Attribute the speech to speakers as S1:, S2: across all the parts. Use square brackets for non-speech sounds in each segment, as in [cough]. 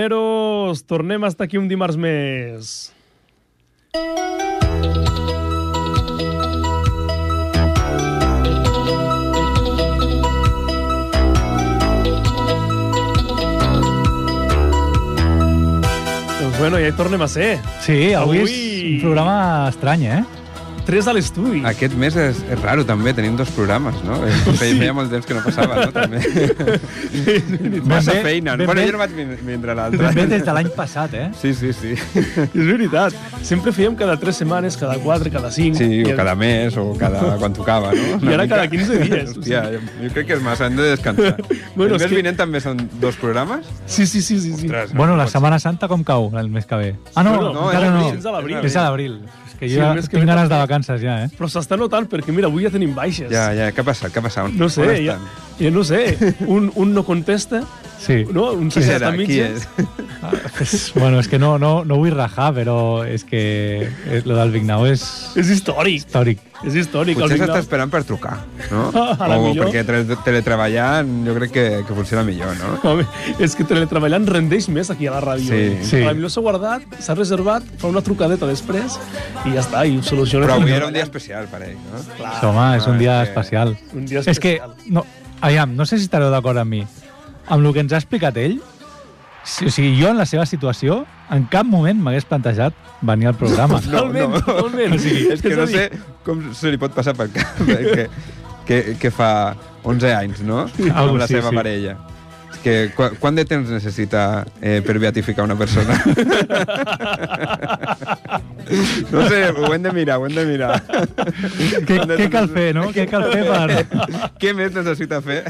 S1: Tribuneros, tornem a estar aquí un dimarts més. Doncs bueno, ja hi tornem a ser.
S2: Sí, avui, avui és
S1: Avui-
S2: un programa estrany, eh?
S1: Tres a l'estudi. [laughs]
S3: Aquest mes és, és raro, també. Tenim dos programes, no? Sí. Feia, feia molt temps que no passava, no? També. Massa
S2: bé,
S3: feina.
S2: ben
S3: Ben bueno,
S2: bé.
S3: jo no vaig vin- vindre l'altre.
S2: Ben bé des de l'any passat, eh?
S3: Sí, sí, sí.
S1: És veritat. Sempre fèiem cada tres setmanes, cada quatre, cada cinc.
S3: Sí,
S1: I-
S3: o cada mes, o cada... quan tocava, no?
S1: I ara cada 15 dies.
S3: Hòstia, jo, jo crec que és massa, hem de descansar.
S1: [laughs] Bueno,
S3: bueno,
S1: és
S3: el mes
S1: que-
S3: que... vinent també són dos programes?
S1: Sí, sí, sí, sí. sí.
S3: Ostres,
S2: Bueno, la
S3: pot ser.
S2: Setmana Santa com cau el mes que ve? Ah, no,
S1: Bueno,
S2: no,
S1: no,
S2: encara
S3: és
S2: no.
S3: abril,
S1: és a l'abril.
S2: És a l'abril. És que
S1: Sí,
S2: jo
S1: el
S2: ja
S1: mes que ve
S2: tinc ganes de
S1: també.
S2: vacances ja, eh?
S1: Però s'està notant perquè, mira, avui ja tenim baixes.
S3: Ja, ja, què ha passat? Què ha passat?
S1: No sé,
S3: On
S1: ja,
S3: estan?
S1: ja no sé. Un, un no contesta,
S2: Sí.
S1: no? Un
S3: Qui
S1: s'ha quedat
S3: serà?
S1: a
S3: Qui
S1: mitges.
S3: és?
S2: Ah, és- Bueno, és que no, no, no vull rajar, però és que eh, lo del Vignau és
S1: És històric.
S2: històric.
S1: És històric.
S3: Potser
S1: el
S3: s'està
S1: Vignau.
S3: esperant per trucar, no?
S1: [laughs] A la
S3: o
S1: millor.
S3: perquè tele- teletreballant jo crec que, que funciona millor, no?
S1: Home, és que teletreballant rendeix més aquí a la ràdio.
S3: Sí.
S1: eh?
S2: Sí.
S1: A la millor s'ha guardat, s'ha reservat, fa una trucadeta després i ja està, i ho soluciona.
S3: Però avui era un dia especial per ell, no?
S1: Clar,
S2: Sí, home, és un dia
S3: Ah, que-
S2: especial.
S1: un dia
S2: És que,
S1: especial.
S2: no, aviam, no sé si estareu d'acord amb mi. Amb el que ens ha explicat ell, si, o sigui, jo en la seva situació, en cap moment m'hagués plantejat venir al
S1: [laughs]
S2: programa.
S1: Totalment,
S3: no.
S1: totalment.
S3: O sigui, és que
S1: a
S3: no
S1: dir,
S3: sé com se li pot passar per cap [laughs] que, que, que fa 11 anys, no?
S2: algo
S3: Amb la
S2: sí,
S3: seva
S2: sí.
S3: parella. És que qu quant de temps necessita eh, per beatificar una persona? [laughs] no sé, ho hem de mirar, ho hem de mirar. [laughs]
S2: Què, què cal fer, no? Què cal fer
S3: [laughs]
S2: per...
S3: Què més necessita fer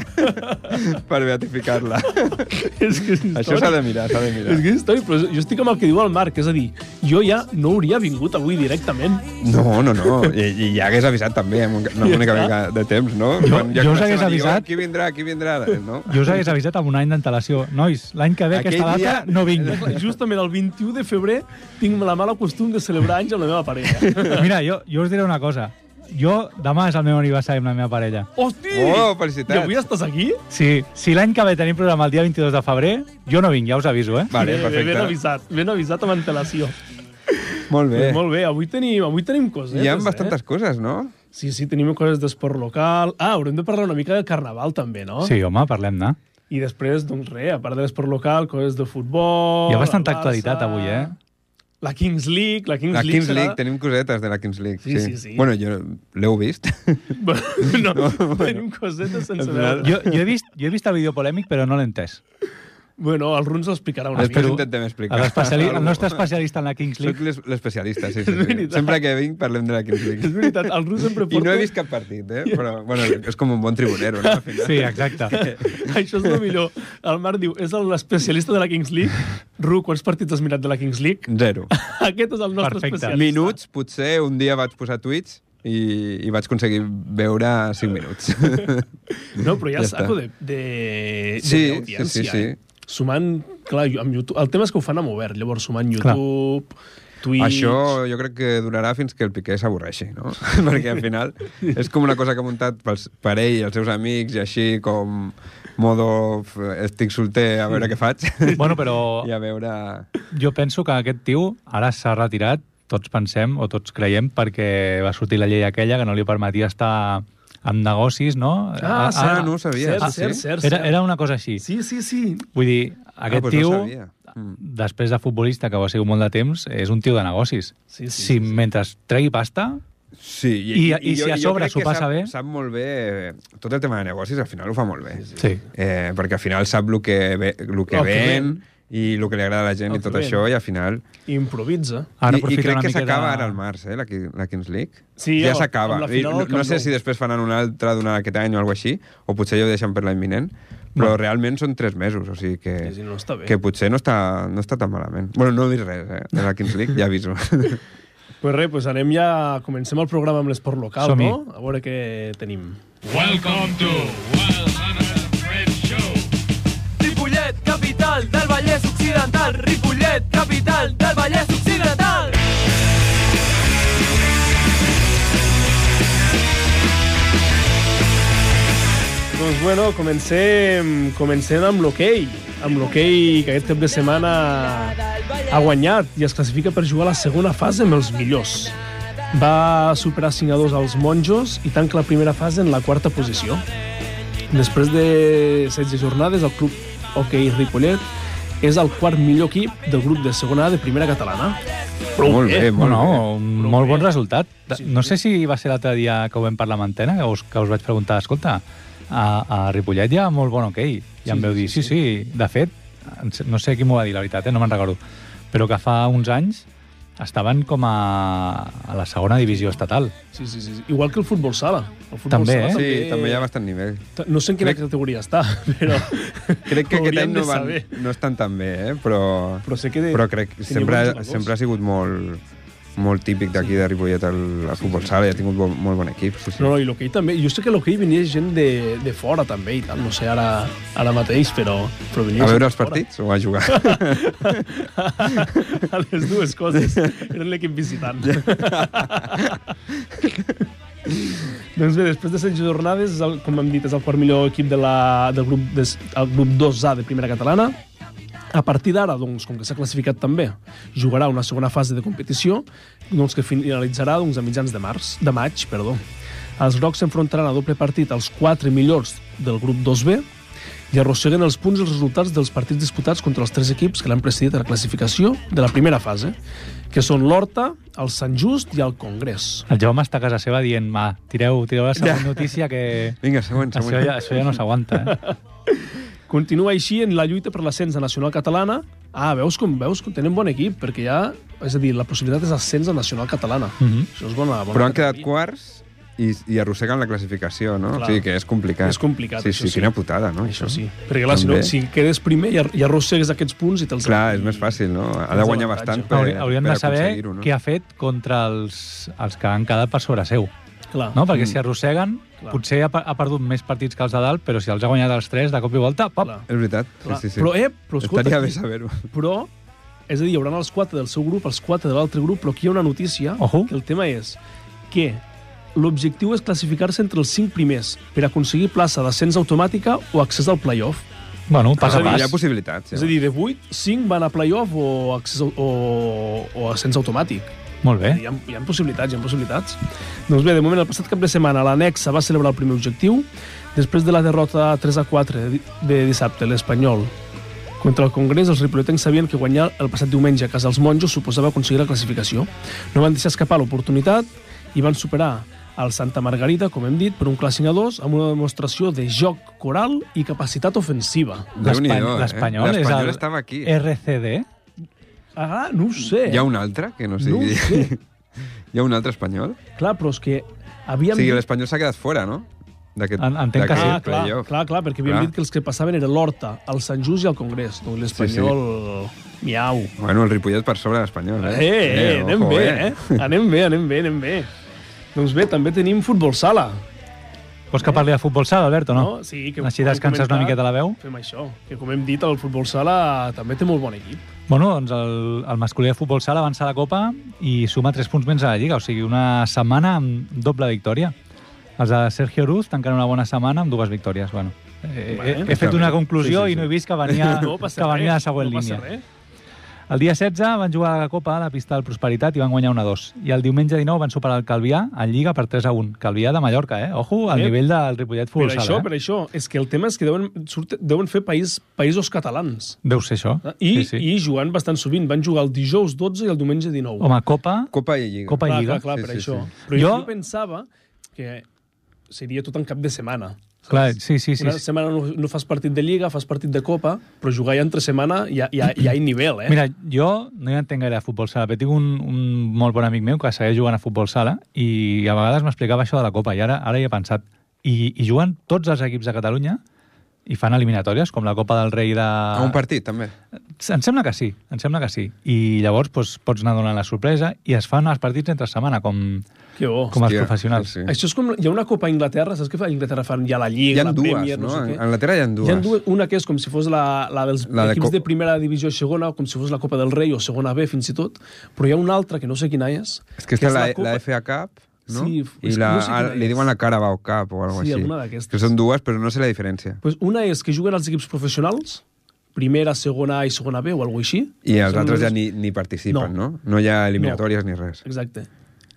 S3: [laughs] per beatificar-la?
S2: [laughs]
S1: És que és
S3: Això
S1: històric.
S3: s'ha de mirar, s'ha de
S1: És
S3: mirar.
S1: que és històric, però jo estic amb el que diu el Marc, és a dir, jo ja no hauria vingut avui directament.
S3: No, no, no. I, i ja hagués avisat també, amb un- amb una mica de temps, no?
S2: Jo-
S3: Quan
S2: jo us
S3: comencem
S2: hagués
S3: a dir, "Oh,
S2: avisat-
S3: Qui vindrà, qui vindrà, no?
S2: Jo us hagués avisat amb un any d'antelació. Nois, l'any que ve
S3: Aquell
S2: aquesta data
S3: dia-
S2: no
S1: Clar, clar,
S2: vinc.
S1: Justament el 21 de febrer tinc la mala costum de celebrar anys amb la meva parella.
S2: Mira, jo, jo us diré una cosa. Jo, demà és el meu aniversari amb la meva parella.
S1: Hosti!
S3: Oh, felicitats.
S1: I avui estàs aquí?
S2: Sí, si l'any que ve tenim programa el dia 22 de febrer, jo no vinc, ja us aviso, eh?
S3: Vale,
S1: Bé, bé, ben
S3: perfecte.
S1: avisat, ben avisat amb antelació.
S3: Molt bé.
S1: Doncs molt bé, avui tenim, avui tenim coses.
S3: Hi ha bastantes coses, no?
S1: Eh? Sí, sí, tenim coses d'esport local. Ah, haurem de parlar una mica de carnaval també,
S3: Oh.
S1: no?
S2: Sí, home, parlem-ne.
S1: I després, doncs res, a part de l'esport local, coses de futbol...
S2: Hi ha bastanta
S1: el Barça,
S2: actualitat avui, eh?
S1: La Kings League, la Kings
S3: La
S1: League
S3: Kings
S1: serà...
S3: League, tenim cosetes de la Kings League.
S1: Sí, sí, sí.
S3: Bueno, jo l'heu vist. [laughs]
S1: no, tenim cosetes sense
S3: Al final-
S1: veure.
S2: Jo, jo, he vist, jo he vist el vídeo polèmic, però no l'he entès.
S1: Bueno, el Runs l'explicarà una
S3: Després
S1: mica.
S3: intentem explicar.
S2: L'especiali- El
S3: Algú.
S2: nostre especialista en la Kings
S3: Soc
S2: League.
S3: l'es- l'especialista,
S1: [laughs]
S3: sí, sí,
S1: És
S3: sí.
S1: veritat.
S3: Sempre que vinc parlem de la
S1: [laughs]
S3: Kings
S1: És
S3: League.
S1: veritat, el Runs sempre
S3: I
S1: porta...
S3: no he vist cap
S1: [laughs]
S3: partit, eh? Però, bueno, és com un bon tribunero, no? Al final.
S2: Sí, exacte.
S1: [laughs] Això és el millor. El Marc diu, és el- l'especialista de la Kings League. Ru, quants partits has mirat de la Kings League? [laughs]
S3: Zero.
S1: Aquest és el nostre
S2: Perfecte.
S1: especialista.
S3: Minuts, potser un dia vaig posar tuits i, i vaig aconseguir veure 5 minuts.
S1: No, però ja,
S3: Ja
S1: ja saco de,
S3: està.
S1: de,
S3: Sí,
S1: de audiència,
S3: sí, sí, sí.
S1: Eh? Sumant, clar, jo- amb YouTube... El tema és que ho fan a obert, llavors sumant YouTube, Twitch...
S3: Això jo crec que durarà fins que el Piqué s'avorreixi,
S2: [laughs]
S3: no? [laughs] Perquè al final és com una cosa que ha muntat pels, per ell i els seus amics i així com modo f- estic solter a veure què
S2: [laughs]
S3: faig
S2: Bueno, però
S3: i a veure... ah,
S2: jo penso que aquest tio ara s'ha retirat, tots pensem o tots creiem, perquè va sortir la llei aquella que no li permetia estar amb negocis, no?
S1: Ah,
S2: A-
S1: cert,
S2: ara-
S3: no ho sabia,
S1: Cert,
S3: ah, sí?
S1: cert, cert,
S2: Era,
S1: cert.
S2: era una cosa així.
S1: Sí, sí, sí.
S2: Vull dir, aquest
S3: ah, doncs
S2: tio,
S3: No ho sabia. Mm.
S2: després de futbolista, que ho ha sigut molt de temps, és un tio de negocis.
S1: Sí, sí,
S2: si
S1: sí, sí.
S2: mentre tregui pasta,
S3: Sí,
S2: I- i si a
S3: jo
S2: sobre
S3: crec
S2: s'ho
S3: que
S2: passa
S3: sap,
S2: bé?
S3: Sap molt bé... eh, Tot el tema de negocis al final ho fa molt bé.
S2: sí. Sí.
S3: Eh, perquè al final sap el que, ve, el que
S1: El que
S3: ven
S1: ven.
S3: i el que li agrada a la gent
S1: El
S3: i tot
S1: que ven.
S3: això i al final...
S1: Improvisa.
S2: ara
S3: I, I
S2: aprofita
S3: crec
S2: una
S3: que
S2: miqueta...
S3: s'acaba ara al març, eh, la, Ki- la Kings League.
S1: Sí,
S3: ja
S1: amb-
S3: s'acaba.
S1: amb la
S3: I
S1: final
S3: No,
S1: del
S3: no
S1: Camp
S3: sé
S1: Nou.
S3: si després faran una altra durant aquest any o alguna així, o potser ja ho deixen per l'any vinent, però realment són tres mesos, o sigui que,
S1: Sí, sí, no està bé.
S3: Eh, que potser no està, no està tan malament. Bueno, no he vist res, eh, de la Kings League, ja
S1: [laughs]
S3: aviso.
S1: Pues res, pues anem ja... Comencem el programa amb l'esport local,
S2: Som-hi.
S1: no? A veure què tenim.
S4: Welcome to Wild Hunter Friends Show.
S5: Ripollet, capital del Vallès Occidental. Ripollet, capital del Vallès Occidental.
S1: Doncs bueno, comencem, comencem amb l'hoquei. amb l'hoquei que aquest cap de setmana ha guanyat i es classifica per jugar a la segona fase amb els millors. Va superar 5 a 2 als monjos i tanca la primera fase en la quarta posició. Després de 16 jornades, el club hoquei Ripollet és el quart millor equip del grup de segona A de primera catalana. Prou
S3: [laughs] Molt bé, molt
S2: Bueno,
S3: bé.
S2: un
S1: Prou
S2: molt bon
S1: bé.
S2: resultat.
S1: Sí,
S2: No
S1: sí.
S2: sé si va ser l'altre dia que ho vam parlar amb antena, que us, que us vaig preguntar, escolta, a, a Ripollet hi ha molt bon hoquei. I em veu dir, sí, sí, de fet, ens- no sé qui m'ho va dir, la veritat, eh? no me'n recordo, però que fa uns anys estaven com a, a la segona divisió estatal.
S1: Sí, sí, sí. Igual que el futbol sala. El futbol
S2: També,
S1: sala
S2: eh?
S3: Sí, també hi ha bastant nivell.
S1: Ta- No sé en quina
S3: Crec-
S1: categoria està, [laughs] però...
S3: Crec que
S1: ho
S3: aquest
S1: hauríem
S3: any
S1: de
S3: no, van,
S1: saber.
S3: no estan tan bé, eh? però,
S1: Però sé que... De...
S3: però crec que
S1: tenia
S3: sempre,
S1: bons jugadors.
S3: sempre ha sigut molt, molt típic d'aquí de Ripollet el, el futbol sala i ha tingut molt, molt bon equip. Sí, sí.
S1: No, no, i l'hoquei també. Jo sé que a l'hoquei venia gent de, de fora també i tal, no sé ara, ara mateix, però, però venia
S3: A
S1: gent de
S3: veure els
S1: fora.
S3: partits o a jugar?
S1: [laughs] a les dues coses. Eren l'equip visitant. [laughs] doncs bé, després de set jornades, és el, com hem dit, és el quart millor equip de la, del grup, des, el grup 2A de Primera Catalana. A partir d'ara, doncs, com que s'ha classificat també, jugarà una segona fase de competició doncs, que finalitzarà doncs, a mitjans de, març, de maig. Perdó. Els grocs s'enfrontaran a doble partit als quatre millors del grup 2B, i arrosseguen els punts i els resultats dels partits disputats contra els tres equips que l'han precedit a la classificació de la primera fase, que són l'Horta, el Sant Just i el Congrés.
S2: El Jaume està a casa seva dient, va, tireu, tireu la següent notícia que...
S3: Vinga, següent,
S2: Això
S3: següent.
S2: ja, això ja no s'aguanta, eh?
S1: Continua així en la lluita per l'ascens a Nacional Catalana. Ah, veus com veus com tenen bon equip, perquè ja... És a dir, la possibilitat és ascens a Nacional Catalana.
S2: Mhm.
S1: Això és bona... bona
S3: Però han quedat
S1: categoria.
S3: quarts i, i arrosseguen la classificació, no?
S1: Clar.
S3: O sigui que és complicat.
S1: És complicat,
S3: sí,
S1: això
S3: sí.
S1: sí.
S3: Quina putada, no?
S1: Això sí. Perquè clar, si, no,
S3: També.
S1: si quedes primer i, ar i arrossegues aquests punts i te'ls...
S3: Clar, és més fàcil, no? Ha de guanyar bastant per,
S2: Hauri- Hauríem
S3: per
S2: de saber
S3: aconseguir-ho, no?
S2: què ha fet contra els, els que han quedat per sobre seu.
S1: Clar.
S2: No? Perquè si arrosseguen,
S1: Mm. Clar.
S2: potser ha, per- ha perdut més partits que els de dalt, però si els ha guanyat els tres, de cop i volta, pop!
S1: Clar.
S3: És veritat. Sí,
S1: Clar.
S3: sí, sí.
S1: Però, eh, però escolta,
S3: Estaria
S1: aquí-
S3: bé saber-ho.
S1: però és a dir, hi haurà els quatre del seu grup, els quatre de l'altre grup, però aquí hi ha una notícia,
S2: Ojo.
S1: que el tema és que l'objectiu és classificar-se entre els cinc primers per aconseguir plaça d'ascens automàtica o accés al playoff.
S2: Bueno, pas a
S3: Ah, hi
S2: pas.
S3: ha possibilitats.
S1: Sí.
S3: Ja.
S1: És a dir, de 8, 5 van a playoff o, accés, au- o, o ascens automàtic.
S2: Molt
S3: Eh?
S2: bé.
S1: Hi ha, hi ha possibilitats, hi ha possibilitats. Doncs bé, de moment, el passat cap de setmana, l'Anexa va celebrar el primer objectiu. Després de la derrota 3 a 4 de- de dissabte, l'Espanyol contra el Congrés, els ripolletens sabien que guanyar el passat diumenge a casa els monjos suposava aconseguir la classificació. No van deixar escapar l'oportunitat i van superar el Santa Margarida, com hem dit, per un clàssic a dos, amb una demostració de joc coral i capacitat ofensiva.
S3: Déu-n'hi-do,
S2: L'Espany-
S3: eh?
S2: L'Espanyol és
S3: L'Espanyol
S2: el
S3: estava aquí.
S2: RCD?
S1: Ah, no ho sé.
S3: Hi ha un altre que no
S1: No ho
S3: sigui...
S1: sé.
S3: [laughs] hi ha un altre espanyol?
S1: Clar, però és
S3: [laughs]
S1: que
S3: O
S1: havíem
S3: sigui,
S1: dit-
S3: l'espanyol s'ha quedat fora, no? D'aquest
S2: En- entenc que
S3: d'aquest
S2: sí.
S1: Ah, clar,
S3: playoff.
S1: clar, clar, perquè havíem
S3: Clar.
S1: dit que els que passaven era l'Horta, el Sant Just i el Congrés. Doncs l'Espanyol... Miau.
S3: Bueno, el Ripollet per sobre de l'Espanyol,
S1: Eh,
S3: eh?
S1: eh, anem
S3: ojo,
S1: bé, eh? Anem bé, anem bé, anem bé. Doncs bé, també tenim futbol sala,
S2: Vols que parli de futbol sala, Albert, o no?
S1: no? Sí, que
S2: Així
S1: ho hem
S2: descanses una
S1: comentat.
S2: miqueta la veu.
S1: Fem això, que com hem dit, el futbol sala també té molt bon equip.
S2: Bueno, doncs el, el masculí de futbol sala avança la Copa i suma 3 punts menys a la Lliga, o sigui, una setmana amb doble victòria. Els de Sergio Ruz tancant una bona setmana amb dues victòries. Bueno, eh, he,
S1: Bueno.
S2: he fet una conclusió
S3: Sí, sí, sí.
S2: i no he vist que venia,
S1: No
S2: que
S1: passa res,
S2: venia a la següent
S1: no passa
S2: línia.
S1: res.
S2: El dia 16 van jugar a la Copa a la pista del Prosperitat i van guanyar 1-2. I el diumenge 19 van superar el Calvià en Lliga per 3-1. Calvià de Mallorca, eh? Ojo, al
S1: Eh,
S2: nivell del Ripollet
S1: Per
S2: Futbol Sala.
S1: això,
S2: eh?
S1: per això. És que el tema és que deuen, surt, deuen fer país, països catalans. eh?
S2: Deu ser això.
S1: Ah, I,
S2: sí, sí.
S1: I jugant bastant sovint. Van jugar el dijous 12 i el diumenge 19.
S2: Home, Copa...
S3: Copa i Lliga.
S2: Copa i
S1: clar, Clar,
S2: Lliga.
S1: clar,
S3: Sí,
S1: per
S3: sí,
S1: això.
S3: sí.
S1: Però jo...
S2: Jo-
S1: jo pensava que seria tot en cap de setmana.
S2: Clar, sí, sí, sí.
S1: Una
S2: sí.
S1: setmana no, no fas partit de Lliga, fas partit de Copa, però jugar ja entre setmana ja, ja, ja hi ha nivell, eh?
S2: Mira, jo no hi entenc gaire de futbol sala, però tinc un, un molt bon amic meu que segueix jugant a futbol sala i a vegades m'explicava això de la Copa i ara ara hi he pensat. I, I juguen tots els equips de Catalunya i fan eliminatòries, com la Copa del Rei de...
S3: A un partit, també.
S2: Em sembla que sí, em sembla que sí. I llavors doncs, pots anar donant la sorpresa i es fan els partits entre setmana, com,
S1: que bo.
S2: com els
S3: Hòstia,
S2: professionals.
S3: sí, sí.
S1: Això és com... Hi ha una Copa a Inglaterra, saps què fa? A Inglaterra fan ja la
S3: Hi
S1: Lliga,
S3: ha
S1: la
S3: dues,
S1: Premier,
S3: no?
S1: no, sé
S3: En-
S1: què.
S3: En la Terra hi ha dues.
S1: Hi ha dues, una que és com si fos la, la dels
S3: La
S1: la
S3: de
S1: de equips
S3: co-
S1: de primera divisió i segona, o com si fos la Copa del Rei o segona B, fins i tot, però hi ha una altra que no sé quina és.
S3: És que està la,
S1: Copa-
S3: la FA Cup, no?
S1: Sí,
S3: I
S1: és que
S3: la,
S1: no sé
S3: ara
S1: quina
S3: li
S1: és.
S3: diuen la Carabao Cup o alguna
S1: Sí,
S3: així.
S1: alguna d'aquestes.
S3: Que són dues, però no sé la diferència.
S1: Pues una és que juguen als equips professionals, primera, segona A i segona B o alguna cosa així.
S3: I els
S1: Són
S3: altres ja
S1: només-
S3: ni, ni participen,
S1: No.
S3: no? No, hi ha eliminatòries ni res.
S1: Exacte.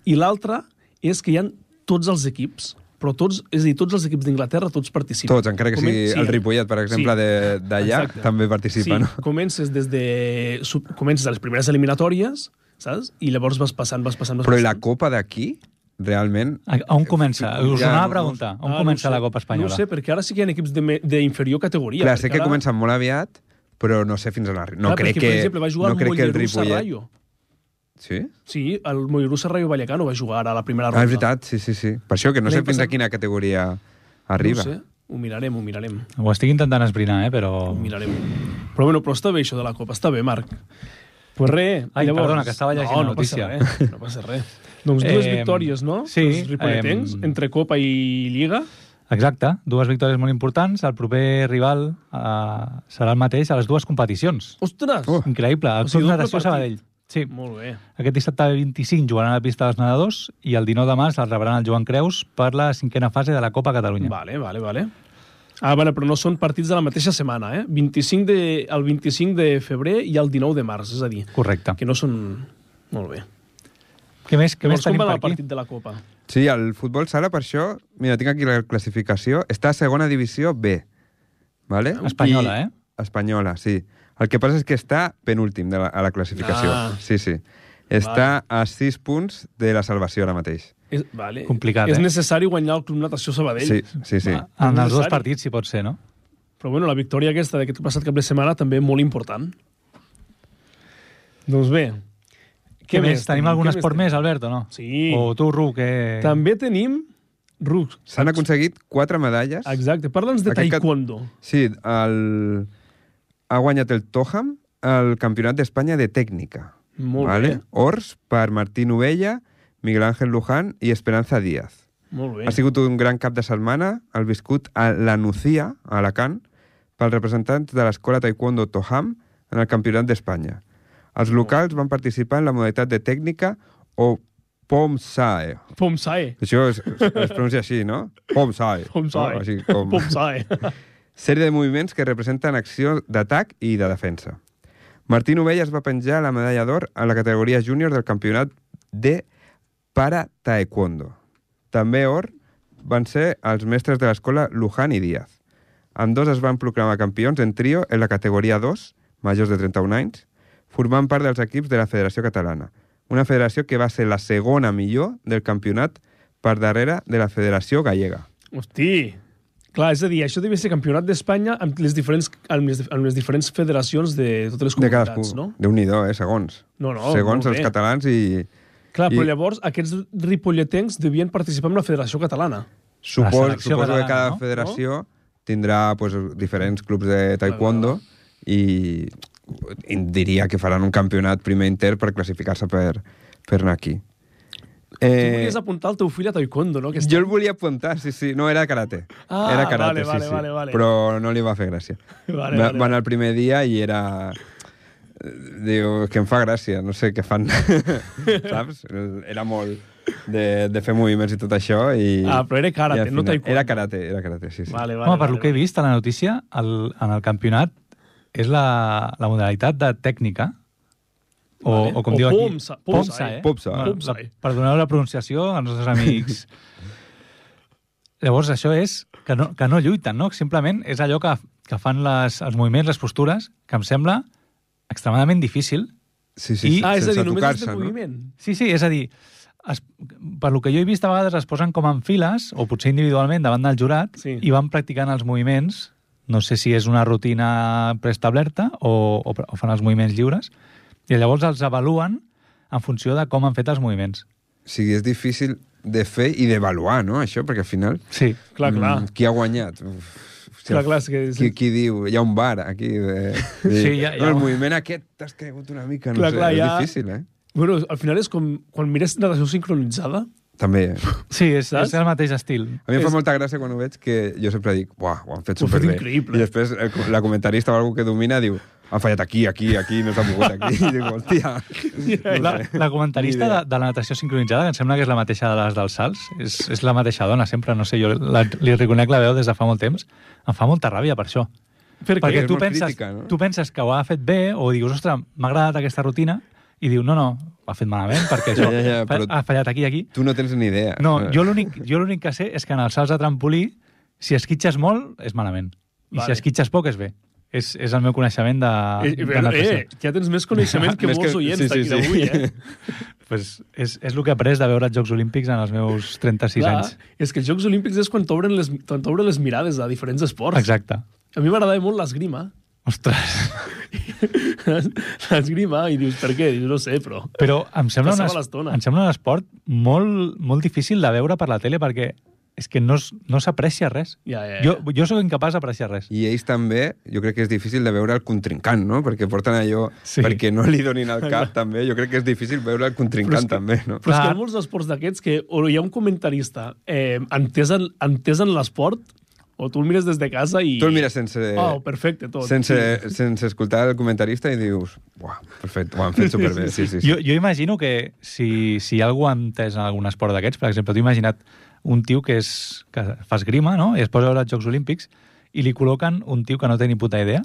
S1: I l'altra és que hi han tots els equips, però tots, és a dir, tots els equips d'Inglaterra tots participen.
S3: Tots, encara que
S1: Comen-
S3: sigui el Ripollet, per exemple, de- d'allà,
S1: Exacte.
S3: també participa,
S1: sí,
S3: no?
S1: Comences des de... sub- Comences a les primeres eliminatòries, saps? I llavors vas passant, vas passant, vas
S3: Però i la
S1: passant.
S3: Copa d'aquí, realment...
S2: A, a on comença?
S3: Ja,
S2: Us
S3: no
S2: anava
S3: ho
S2: a preguntar. On
S1: Ah,
S2: comença
S1: no ho sé.
S2: la Copa Espanyola?
S1: No ho sé, perquè ara sí que hi ha equips de me- d'inferior categoria.
S3: Clar,
S1: perquè
S3: sé que
S1: ara-
S3: comencen molt aviat, però no sé fins on arriba. No
S1: clar,
S3: crec
S1: perquè,
S3: que...
S1: Per exemple, va jugar
S3: no crec
S1: el
S3: que el
S1: Mollerussa
S3: Ripollet...
S1: Rayo.
S3: Sí?
S1: Sí, el Mollerussa Rayo Vallecano va jugar ara a la primera ronda.
S3: Ah, és veritat, sí, sí, sí. Per això que no sé
S1: L'any
S3: fins a
S1: passat-
S3: quina categoria
S1: No
S3: arriba.
S1: ho sé, ho mirarem, ho mirarem.
S2: Ho estic intentant esbrinar, eh, però...
S1: Ho mirarem. Però bueno, però està bé això de la Copa, està bé, Marc. Pues res.
S2: Ai,
S1: llavors...
S2: perdona, que estava llegint
S1: no,
S2: la
S1: no
S2: notícia.
S1: Passa res, no passa
S2: [laughs]
S1: res. doncs dues
S2: Em,
S1: victòries, no?
S2: sí,
S1: Els ripolletens,
S2: em,
S1: entre Copa i Lliga.
S2: Exacte, dues victòries molt importants. El proper rival eh, serà el mateix a les dues competicions.
S1: Ostres!
S3: Oh.
S2: Increïble,
S1: O
S2: el
S1: sigui,
S2: Club
S1: doble
S2: Natació
S1: partit.
S2: Sabadell. Sí,
S1: Molt bé.
S2: Aquest dissabte 25 jugaran a la pista dels nedadors i el 19 de març el rebran el Joan Creus per la cinquena fase de la Copa Catalunya.
S1: Vale, vale, vale. Ah, bueno, però no són partits de la mateixa setmana, eh? 25 de, el 25 de febrer i el 19 de març, és a dir,
S2: Correcte.
S1: que no són... Molt bé.
S2: Què més, què
S1: Llavors, com
S2: més tenim
S1: va
S2: per
S1: anar
S2: aquí?
S1: el partit de la Copa?
S3: Sí, el futbol sala, per això... Mira, tinc aquí la classificació. Està a segona divisió B. Vale?
S1: Ah.
S2: Espanyola, eh?
S3: Espanyola, sí. El que passa és que està penúltim de la, a la classificació.
S1: Ah.
S3: Sí, sí. Està a 6 punts de la salvació ara mateix.
S1: És, vale.
S2: Complicat,
S1: És
S2: eh?
S1: necessari guanyar el Club Natació Sabadell.
S3: Sí, sí, sí.
S2: Ah, En els dos
S1: Necessari.
S2: partits, si pot ser, no?
S1: Però bueno, la victòria aquesta d'aquest passat cap de setmana també molt important. Doncs bé,
S2: Què més? Tenim algun
S1: Què
S2: esport més, Albert, o no?
S1: Sí.
S2: O tu, Ru, que...
S1: tenim? També tenim Rucs.
S3: S'han aconseguit 4 medalles.
S1: Exacte, parla'ns de
S3: Aquest cat-
S1: taekwondo.
S3: Sí, el... ha guanyat el Toham el Campionat d'Espanya de Tècnica.
S1: Molt bé.
S3: Ors per Martín Ovella, Miguel Ángel Luján i Esperanza Díaz.
S1: Molt bé.
S3: Ha sigut un gran cap de setmana, el viscut a la Nucía, a Alacant, pels representants de l'escola Taekwondo Toham en el Campionat d'Espanya. Els locals van participar en la modalitat de tècnica o POMSAE.
S1: Pomsae.
S3: Això es, es pronuncia així, no? POMSAE.
S1: Pomsae.
S3: No? Així Ah, com...
S1: Pomsae.
S3: Sèrie de moviments que representen acció d'atac i de defensa. Martín Ovella es va penjar la medalla d'or a la categoria júnior del campionat de para taekwondo. També or van ser els mestres de l'escola Luján i Díaz. Amb dos es van proclamar campions en trio en la categoria 2, majors de 31 anys, formant part dels equips de la Federació Catalana, una federació que va ser la segona millor del campionat per darrere de la Federació Gallega.
S1: [laughs] Hosti. Clar, és a dir, això devia ser campionat d'Espanya amb les diferents, amb les, amb les diferents federacions de totes les
S3: De
S1: comunitats,
S3: cadascú.
S1: no?
S3: Déu-n'hi-do, eh? Segons.
S1: No, no,
S3: Segons
S1: molt
S3: els
S1: bé.
S3: catalans i...
S1: Clar, però
S3: I-
S1: llavors aquests ripolletens devien participar en la Federació Catalana.
S3: Supos,
S2: selecció
S3: suposo que
S2: catalana,
S3: cada
S2: no?
S3: federació tindrà pues, diferents clubs de taekwondo i i diria que faran un campionat primer inter per classificar-se per, per anar aquí.
S1: Tu
S3: Eh,
S1: volies apuntar el teu fill a taekwondo, no? Aquest...
S3: jo el volia apuntar, sí, sí. No, era karate.
S1: Ah,
S3: era karate,
S1: vale, vale,
S3: sí, sí.
S1: vale, vale.
S3: Però no li va fer gràcia.
S1: [laughs] Vale,
S3: va,
S1: vale,
S3: va
S1: vale.
S3: anar el primer dia i era... Diu, "És que em fa gràcia, no sé què
S1: [laughs]
S3: fan. Saps? Era molt de, de fer moviments i tot això. I,
S1: Ah, però era karate,
S3: i al
S1: no taekwondo.
S3: Era karate, era karate, sí, sí.
S1: Vale, vale,
S2: Home, per
S1: vale,
S2: lo que he vist a la notícia, el, en el campionat és la, la modalitat de tècnica, o,
S1: Vale.
S2: o com
S1: O
S2: diu aquí...
S1: pomsa- pomsa, eh?
S3: Pomsa.
S2: Bueno,
S1: Pomsa,
S2: la-
S1: eh?
S2: Perdoneu la pronunciació als nostres
S1: [laughs]
S2: amics. Llavors, això és que no, que no lluiten, no? Simplement és allò que, que fan les, els moviments, les postures, que em sembla extremadament difícil.
S3: Sí,
S2: I-
S3: sí,
S1: Ah, és a
S3: sense
S1: dir, només és
S3: tocar-se,
S1: de moviment.
S2: Sí, sí, és a dir, es, per lo que jo he vist, a vegades es posen com en files, o potser individualment, davant del jurat,
S1: Sí.
S2: i van practicant els moviments, no sé si és una rutina preestablerta o, o, o fan els moviments lliures, i llavors els avaluen en funció de com han fet els moviments.
S3: No? O sigui, és difícil de fer i d'avaluar, no?, això, perquè al final...
S2: Sí.
S1: Clar, clar.
S3: mm, Qui ha guanyat? Uf, hòstia,
S1: Clar, clar, és que-
S3: qui, qui diu? Hi ha un bar aquí. De...
S2: Sí, hi ha- hi ha
S3: No, el
S2: un-
S3: moviment aquest t'has caigut una mica, no
S1: Clar,
S3: sé,
S1: clar,
S3: és
S1: hi ha-
S3: difícil, eh?
S1: Bueno, al final és com quan mires natació sincronitzada.
S3: També, eh?
S2: Sí, és,
S1: Saps?
S2: és el mateix estil.
S3: A mi em fa
S1: És-
S3: molta gràcia quan ho veig que jo sempre dic, buah, ho han fet
S1: Ho han fet
S3: superbé.
S1: increïble.
S3: I després el, la comentarista o algú que domina diu, han fallat aquí, aquí, aquí, no s'ha mogut aquí. I dic,
S1: [laughs]
S3: hòstia.
S2: La, la
S3: Ni
S2: comentarista
S3: idea.
S2: de, de la natació sincronitzada, que em sembla que és la mateixa de les dels salts, és, és la mateixa dona, sempre, no sé, jo la, li reconec la veu des de fa molt temps, em fa molta ràbia per això.
S1: Per què?
S2: Perquè
S3: És
S2: tu
S3: molt
S2: penses,
S3: crítica, no?
S2: tu penses que ho ha fet bé o dius, ostres, m'ha agradat aquesta rutina i diu, no, no, ho ha fet malament perquè
S3: [laughs]
S2: això
S3: Ja, ja, ja,
S2: fa-
S3: però-
S2: ha fallat aquí i aquí.
S3: Tu no tens ni idea.
S2: No,
S3: [laughs] Eh,
S2: jo l'únic jo l'únic que sé és que en els salts de trampolí, si esquitxes molt, és malament. I
S1: Vale.
S2: si esquitxes poc, és bé. És, és el meu coneixement de,
S1: Eh,
S2: de
S1: eh,
S2: natació.
S1: eh, ja tens més coneixement que
S3: Més
S1: molts
S3: que-
S1: oients
S3: sí, sí,
S1: d'aquí
S3: sí.
S1: d'avui,
S3: [laughs]
S1: eh?
S2: Pues és, és el que he après de veure els Jocs Olímpics en els meus 36
S1: Clar,
S2: anys.
S1: és que els Jocs Olímpics és quan t'obren les, quan t'obren les mirades a diferents esports.
S2: Exacte.
S1: A mi m'agradava molt l'esgrima. [laughs]
S2: Ostres.
S1: l'esgrima, i dius, per què? Dius, no sé, però...
S2: Però em sembla, un,
S1: Passava
S2: es-
S1: l'estona.
S2: em sembla un esport molt, molt difícil de veure per la tele perquè és que no, es- no s'aprecia res.
S1: Ja, ja, ja.
S2: Jo, jo sóc incapaç d'apreciar res.
S3: I ells també, jo crec que és difícil de veure el contrincant, no? Perquè porten allò...
S2: Sí.
S3: Sí. Perquè no li donin al cap, també. Jo crec que és difícil veure
S1: Però
S3: el
S1: és
S3: contrincant,
S1: que-
S3: també, no?
S1: Però és que
S2: Clar.
S1: hi ha molts esports d'aquests que o hi ha un comentarista eh, entès en, entès en l'esport, o tu el mires des de casa i...
S3: Tu el mires sense...
S1: Oh, perfecte, tot.
S3: sense, sense escoltar el comentarista i dius... Buah, perfecte, ho
S1: [laughs]
S3: han fet superbé. Sí, sí, sí.
S2: Jo, jo imagino que si, si algú ha entès en algun esport d'aquests, per exemple, t'ho imagina't un tio que, és, que fa esgrima no? i es posa a veure els Jocs Olímpics i li col·loquen un tio que no té ni puta idea.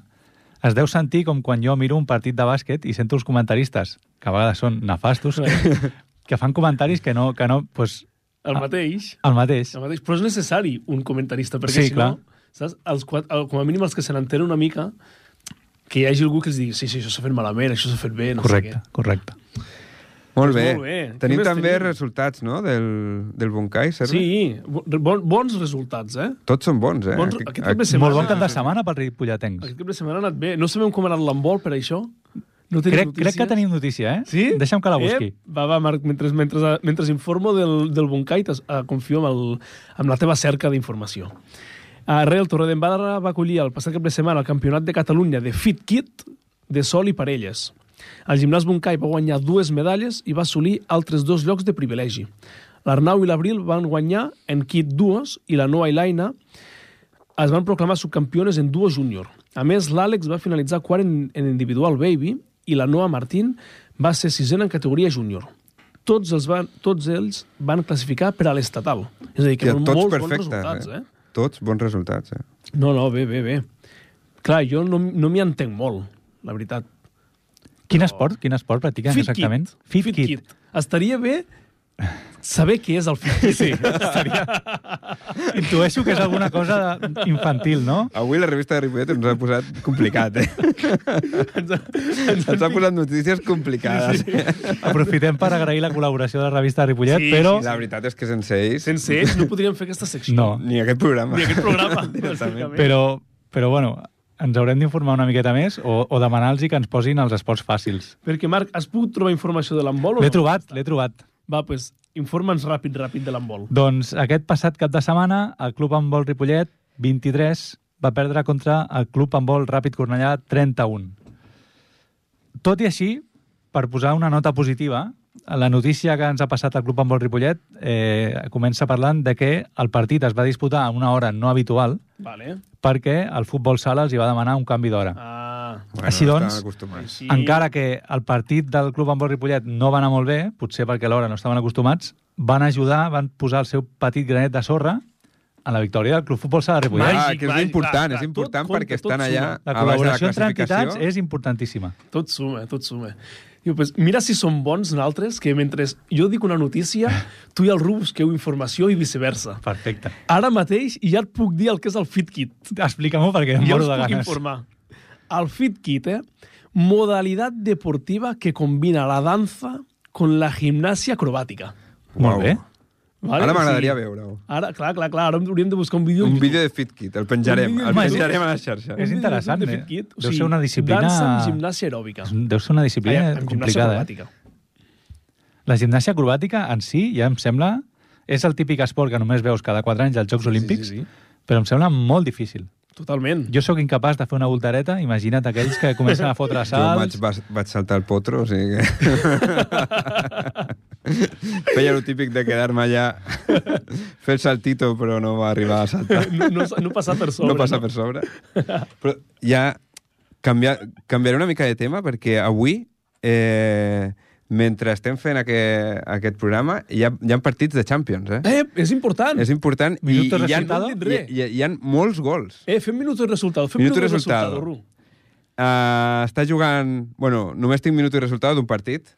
S2: Es deu sentir com quan jo miro un partit de bàsquet i sento els comentaristes, que a vegades són nefastos, que fan comentaris que no... Que no pues,
S1: El mateix.
S2: el mateix.
S1: El mateix. Però és necessari un comentarista, perquè
S2: Sí,
S1: si
S2: clar.
S1: no, saps? Els, quat- el, com a mínim els que se n'entenen una mica, que hi hagi algú que els digui sí, sí, això s'ha fet malament, això s'ha fet bé, no
S2: Correcte,
S1: sé
S2: correcte.
S1: Doncs
S3: Molt bé.
S1: molt bé. Què
S3: Tenim
S1: més
S3: també
S1: tenim?
S3: resultats, no?, del, del Bonkai,
S1: què.
S3: Sergi?
S1: Sí, bon, bons resultats, eh?
S3: Tots són bons, eh?
S1: Bons,
S3: Aquest-
S1: aquest cap de
S3: aquest-
S1: setmana...
S2: Molt bon cap de setmana pel Ripolletens.
S1: Aquest cap de setmana ha anat bé. No sabem com ha anat l'embol per això? No tenim
S2: Crec, crec
S1: notícies?
S2: que tenim notícia, eh?
S1: Sí?
S2: Deixa'm que la busqui.
S1: Eh, va, va, Marc, mentre, mentre, mentre informo del, del Bonkai, t'es- eh, confio amb, el, amb la teva cerca d'informació. Eh, A Real Torredembarra va acollir el passat cap de setmana el Campionat de Catalunya de Fit Kit de sol i parelles. El gimnàs Bonkai va guanyar dues medalles i va assolir altres dos llocs de privilegi. L'Arnau i l'Abril van guanyar en kit duos i la Noa i l'Aina es van proclamar subcampiones en duo júnior. A més, l'Àlex va finalitzar quart en, en individual baby i la Noa Martín va ser sisena en categoria júnior. Tots, els van, tots ells van classificar per a l'estatal. És a dir, que
S3: Hòstia,
S1: molt,
S3: tots
S1: molts bons
S3: perfectes,
S1: resultats, eh?
S3: eh? Tots bons resultats, eh?
S1: No, no, bé, bé, bé. Clar, jo no, no m'hi entenc molt, la veritat.
S2: Quin esport, quin esport practiquen exactament?
S1: Kit. Fit, Kit. Estaria bé saber què és el Fit Kit. Sí, estaria...
S2: Intueixo que és alguna cosa infantil, no?
S3: Avui la revista de Ripollet ens ha posat complicat, eh?
S1: [laughs] ens,
S3: ens ha posat notícies complicades. Sí,
S2: Aprofitem per agrair la col·laboració de la revista Ripollet,
S1: Sí,
S2: però
S3: La veritat és que sense
S1: [laughs]
S3: ells,
S1: Sense ells no podríem fer aquesta secció.
S2: No.
S3: ni aquest programa.
S1: Ni aquest programa,
S3: Directament.
S1: bàsicament.
S2: però, però bueno, ens haurem d'informar una miqueta més o, o demanar-los que ens posin els esports fàcils.
S1: Perquè, Marc, has pogut trobar informació de l'embol o
S2: L'he
S1: no?
S2: trobat, l'he trobat.
S1: Va, pues, informa'ns ràpid, ràpid de l'embol.
S2: Doncs aquest passat cap de setmana el Club Handbol Ripollet 23 va perdre contra el Club Handbol Ràpid Cornellà 31. Tot i així, per posar una nota positiva, la notícia que ens ha passat al Club Handbol Ripollet eh, comença parlant de que el partit es va disputar a una hora no habitual
S1: Vale.
S2: perquè el futbol sala els hi va demanar un canvi d'hora.
S1: Ah,
S3: Bueno,
S2: Així doncs,
S3: estan acostumats.
S1: sí.
S2: Encara que el partit del Club Embol Ripollet no va anar molt bé, potser perquè a l'hora no estaven acostumats, van ajudar, van posar el seu petit granet de sorra a la victòria del Club Futbol Sala Ripollet.
S1: Màgic,
S3: Ah, que és
S1: màgic, clar,
S3: important,
S1: clar,
S3: és important
S1: tot
S3: perquè
S1: compta, tot
S3: estan allà
S1: suma.
S2: La
S3: a baix de la
S2: col·laboració entre entitats
S3: classificació.
S2: és importantíssima.
S1: Tot suma, tot suma. Diu, pues, mira si són bons nosaltres, que mentre jo dic una notícia, tu i el Rubus busqueu informació i viceversa.
S2: Perfecte.
S1: Ara mateix ja et puc dir el que és el FitKit.
S2: Explica-m'ho perquè em
S1: Jo
S2: moro
S1: us
S2: de
S1: puc
S2: ganes.
S1: informar. El FitKit, eh? modalitat deportiva que combina la danza con la gimnasia acrobàtica.
S2: Molt bé.
S1: Vale?
S3: Ara
S1: O sigui,
S3: m'agradaria veure-ho.
S1: Ara, clar, clar, clar, ara hauríem de buscar un vídeo.
S3: Un vídeo de FitKit, el penjarem.
S1: Un vídeo
S3: El
S2: de-
S3: penjarem a les xarxes.
S2: És interessant,
S1: de
S2: eh?
S1: Fit Kit,
S2: Deu ser una disciplina-
S1: Dansa amb gimnàsia aeròbica.
S2: Deu ser una disciplina
S1: Ai, amb gimnàsia
S2: complicada. Eh?
S1: acrobàtica.
S2: La gimnàsia acrobàtica en si ja em sembla... És el típic esport que només veus cada 4 anys als Jocs Olímpics,
S1: sí, sí.
S2: però em sembla molt difícil.
S1: Totalment.
S2: Jo sóc incapaç de fer una voltareta, imagina't aquells que comencen
S1: [laughs]
S2: a fotre
S3: Jo vaig,
S2: salts...
S3: vas- vaig saltar el potro, o sigui que... [laughs] Feia el típic de quedar-me allà, [laughs] fer el saltito, però no va arribar a saltar.
S1: [laughs] No, no, no passar per sobre.
S3: no passa per sobre. Però ja canvia, canviaré una mica de tema perquè avui eh, mentre estem fent aquest, aquest programa, hi ha, hi ha partits de Champions, eh?
S1: Eh, és important.
S3: És important. I, i,
S2: Minuto
S3: hi ha,
S1: resultado.
S3: hi, hi, hi ha molts gols.
S1: Eh, fem minutos resultado. Fem
S3: Minuto
S1: minutos resultado,
S3: resultado.
S1: Ru.
S3: Uh, està jugant... Bueno, només tinc minut i resultat d'un partit.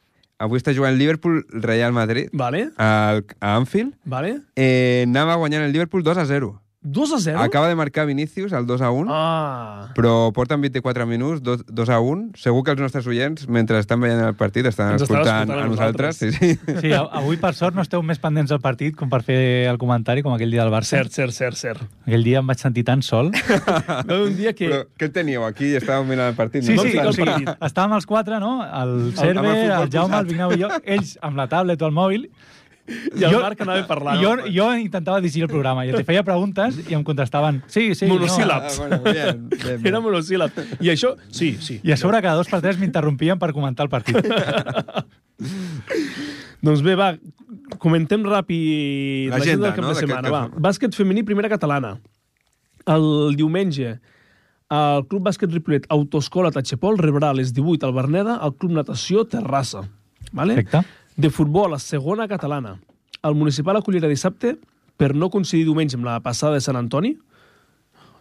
S3: Avui està jugant Liverpool-Real Madrid
S1: Vale,
S3: al, a Anfield.
S1: vale.
S3: Eh, anava guanyant el Liverpool 2 a 0.
S1: 2 a 0?
S3: Acaba de marcar Vinícius al 2 a 1,
S1: Ah.
S3: però porten 24 minuts, 2, 2 a 1. Segur que els nostres oients, mentre estan veient el partit, estan
S1: Ens estan
S3: escoltant,
S1: escoltant a
S3: a nosaltres. Sí,
S1: nosaltres.
S3: sí.
S2: Sí, a- avui, per sort, no esteu més pendents del partit com per fer el comentari com aquell dia del Barça.
S1: Cert, cert, cert, cert.
S2: Aquell dia em vaig sentir tan sol. Ah.
S1: Va haver un dia [laughs] que...
S3: Però què teníeu aquí? Estàvem mirant el partit.
S1: Sí,
S3: no?
S1: sí,
S2: o
S1: el
S2: sigui,
S1: partit.
S2: estàvem els quatre, no? El
S3: el
S2: Cerve, el,
S3: futbol
S2: Jaume,
S3: posat.
S2: el Vignau i jo, ells amb la tablet o el mòbil.
S1: I el Marc anava parlant.
S2: Jo, jo intentava dirigir el programa i els hi feia preguntes i em contestaven sí, sí,
S1: Monosíl·lab.
S3: Ah, bueno, bien, bien, bien.
S1: Era monosíl·lab. I això, sí, sí.
S2: No. I a sobre cada dos per tres m'interrompien per comentar el partit.
S1: Ah, Doncs bé, va, comentem ràpid l'agenda
S3: L'agenda,
S1: del cap
S3: no?
S1: de
S3: D'aquest
S1: setmana.
S3: cap
S1: Va.
S3: de setmana.
S1: Bàsquet femení, primera catalana. El diumenge, el Club Bàsquet Ripollet Autoscola Tachepol rebrà a les 18 al Berneda el Club Natació Terrassa. Vale?
S2: Perfecte.
S1: De futbol, a segona catalana. El municipal acollirà dissabte, per no coincidir diumenge amb la passada de Sant Antoni.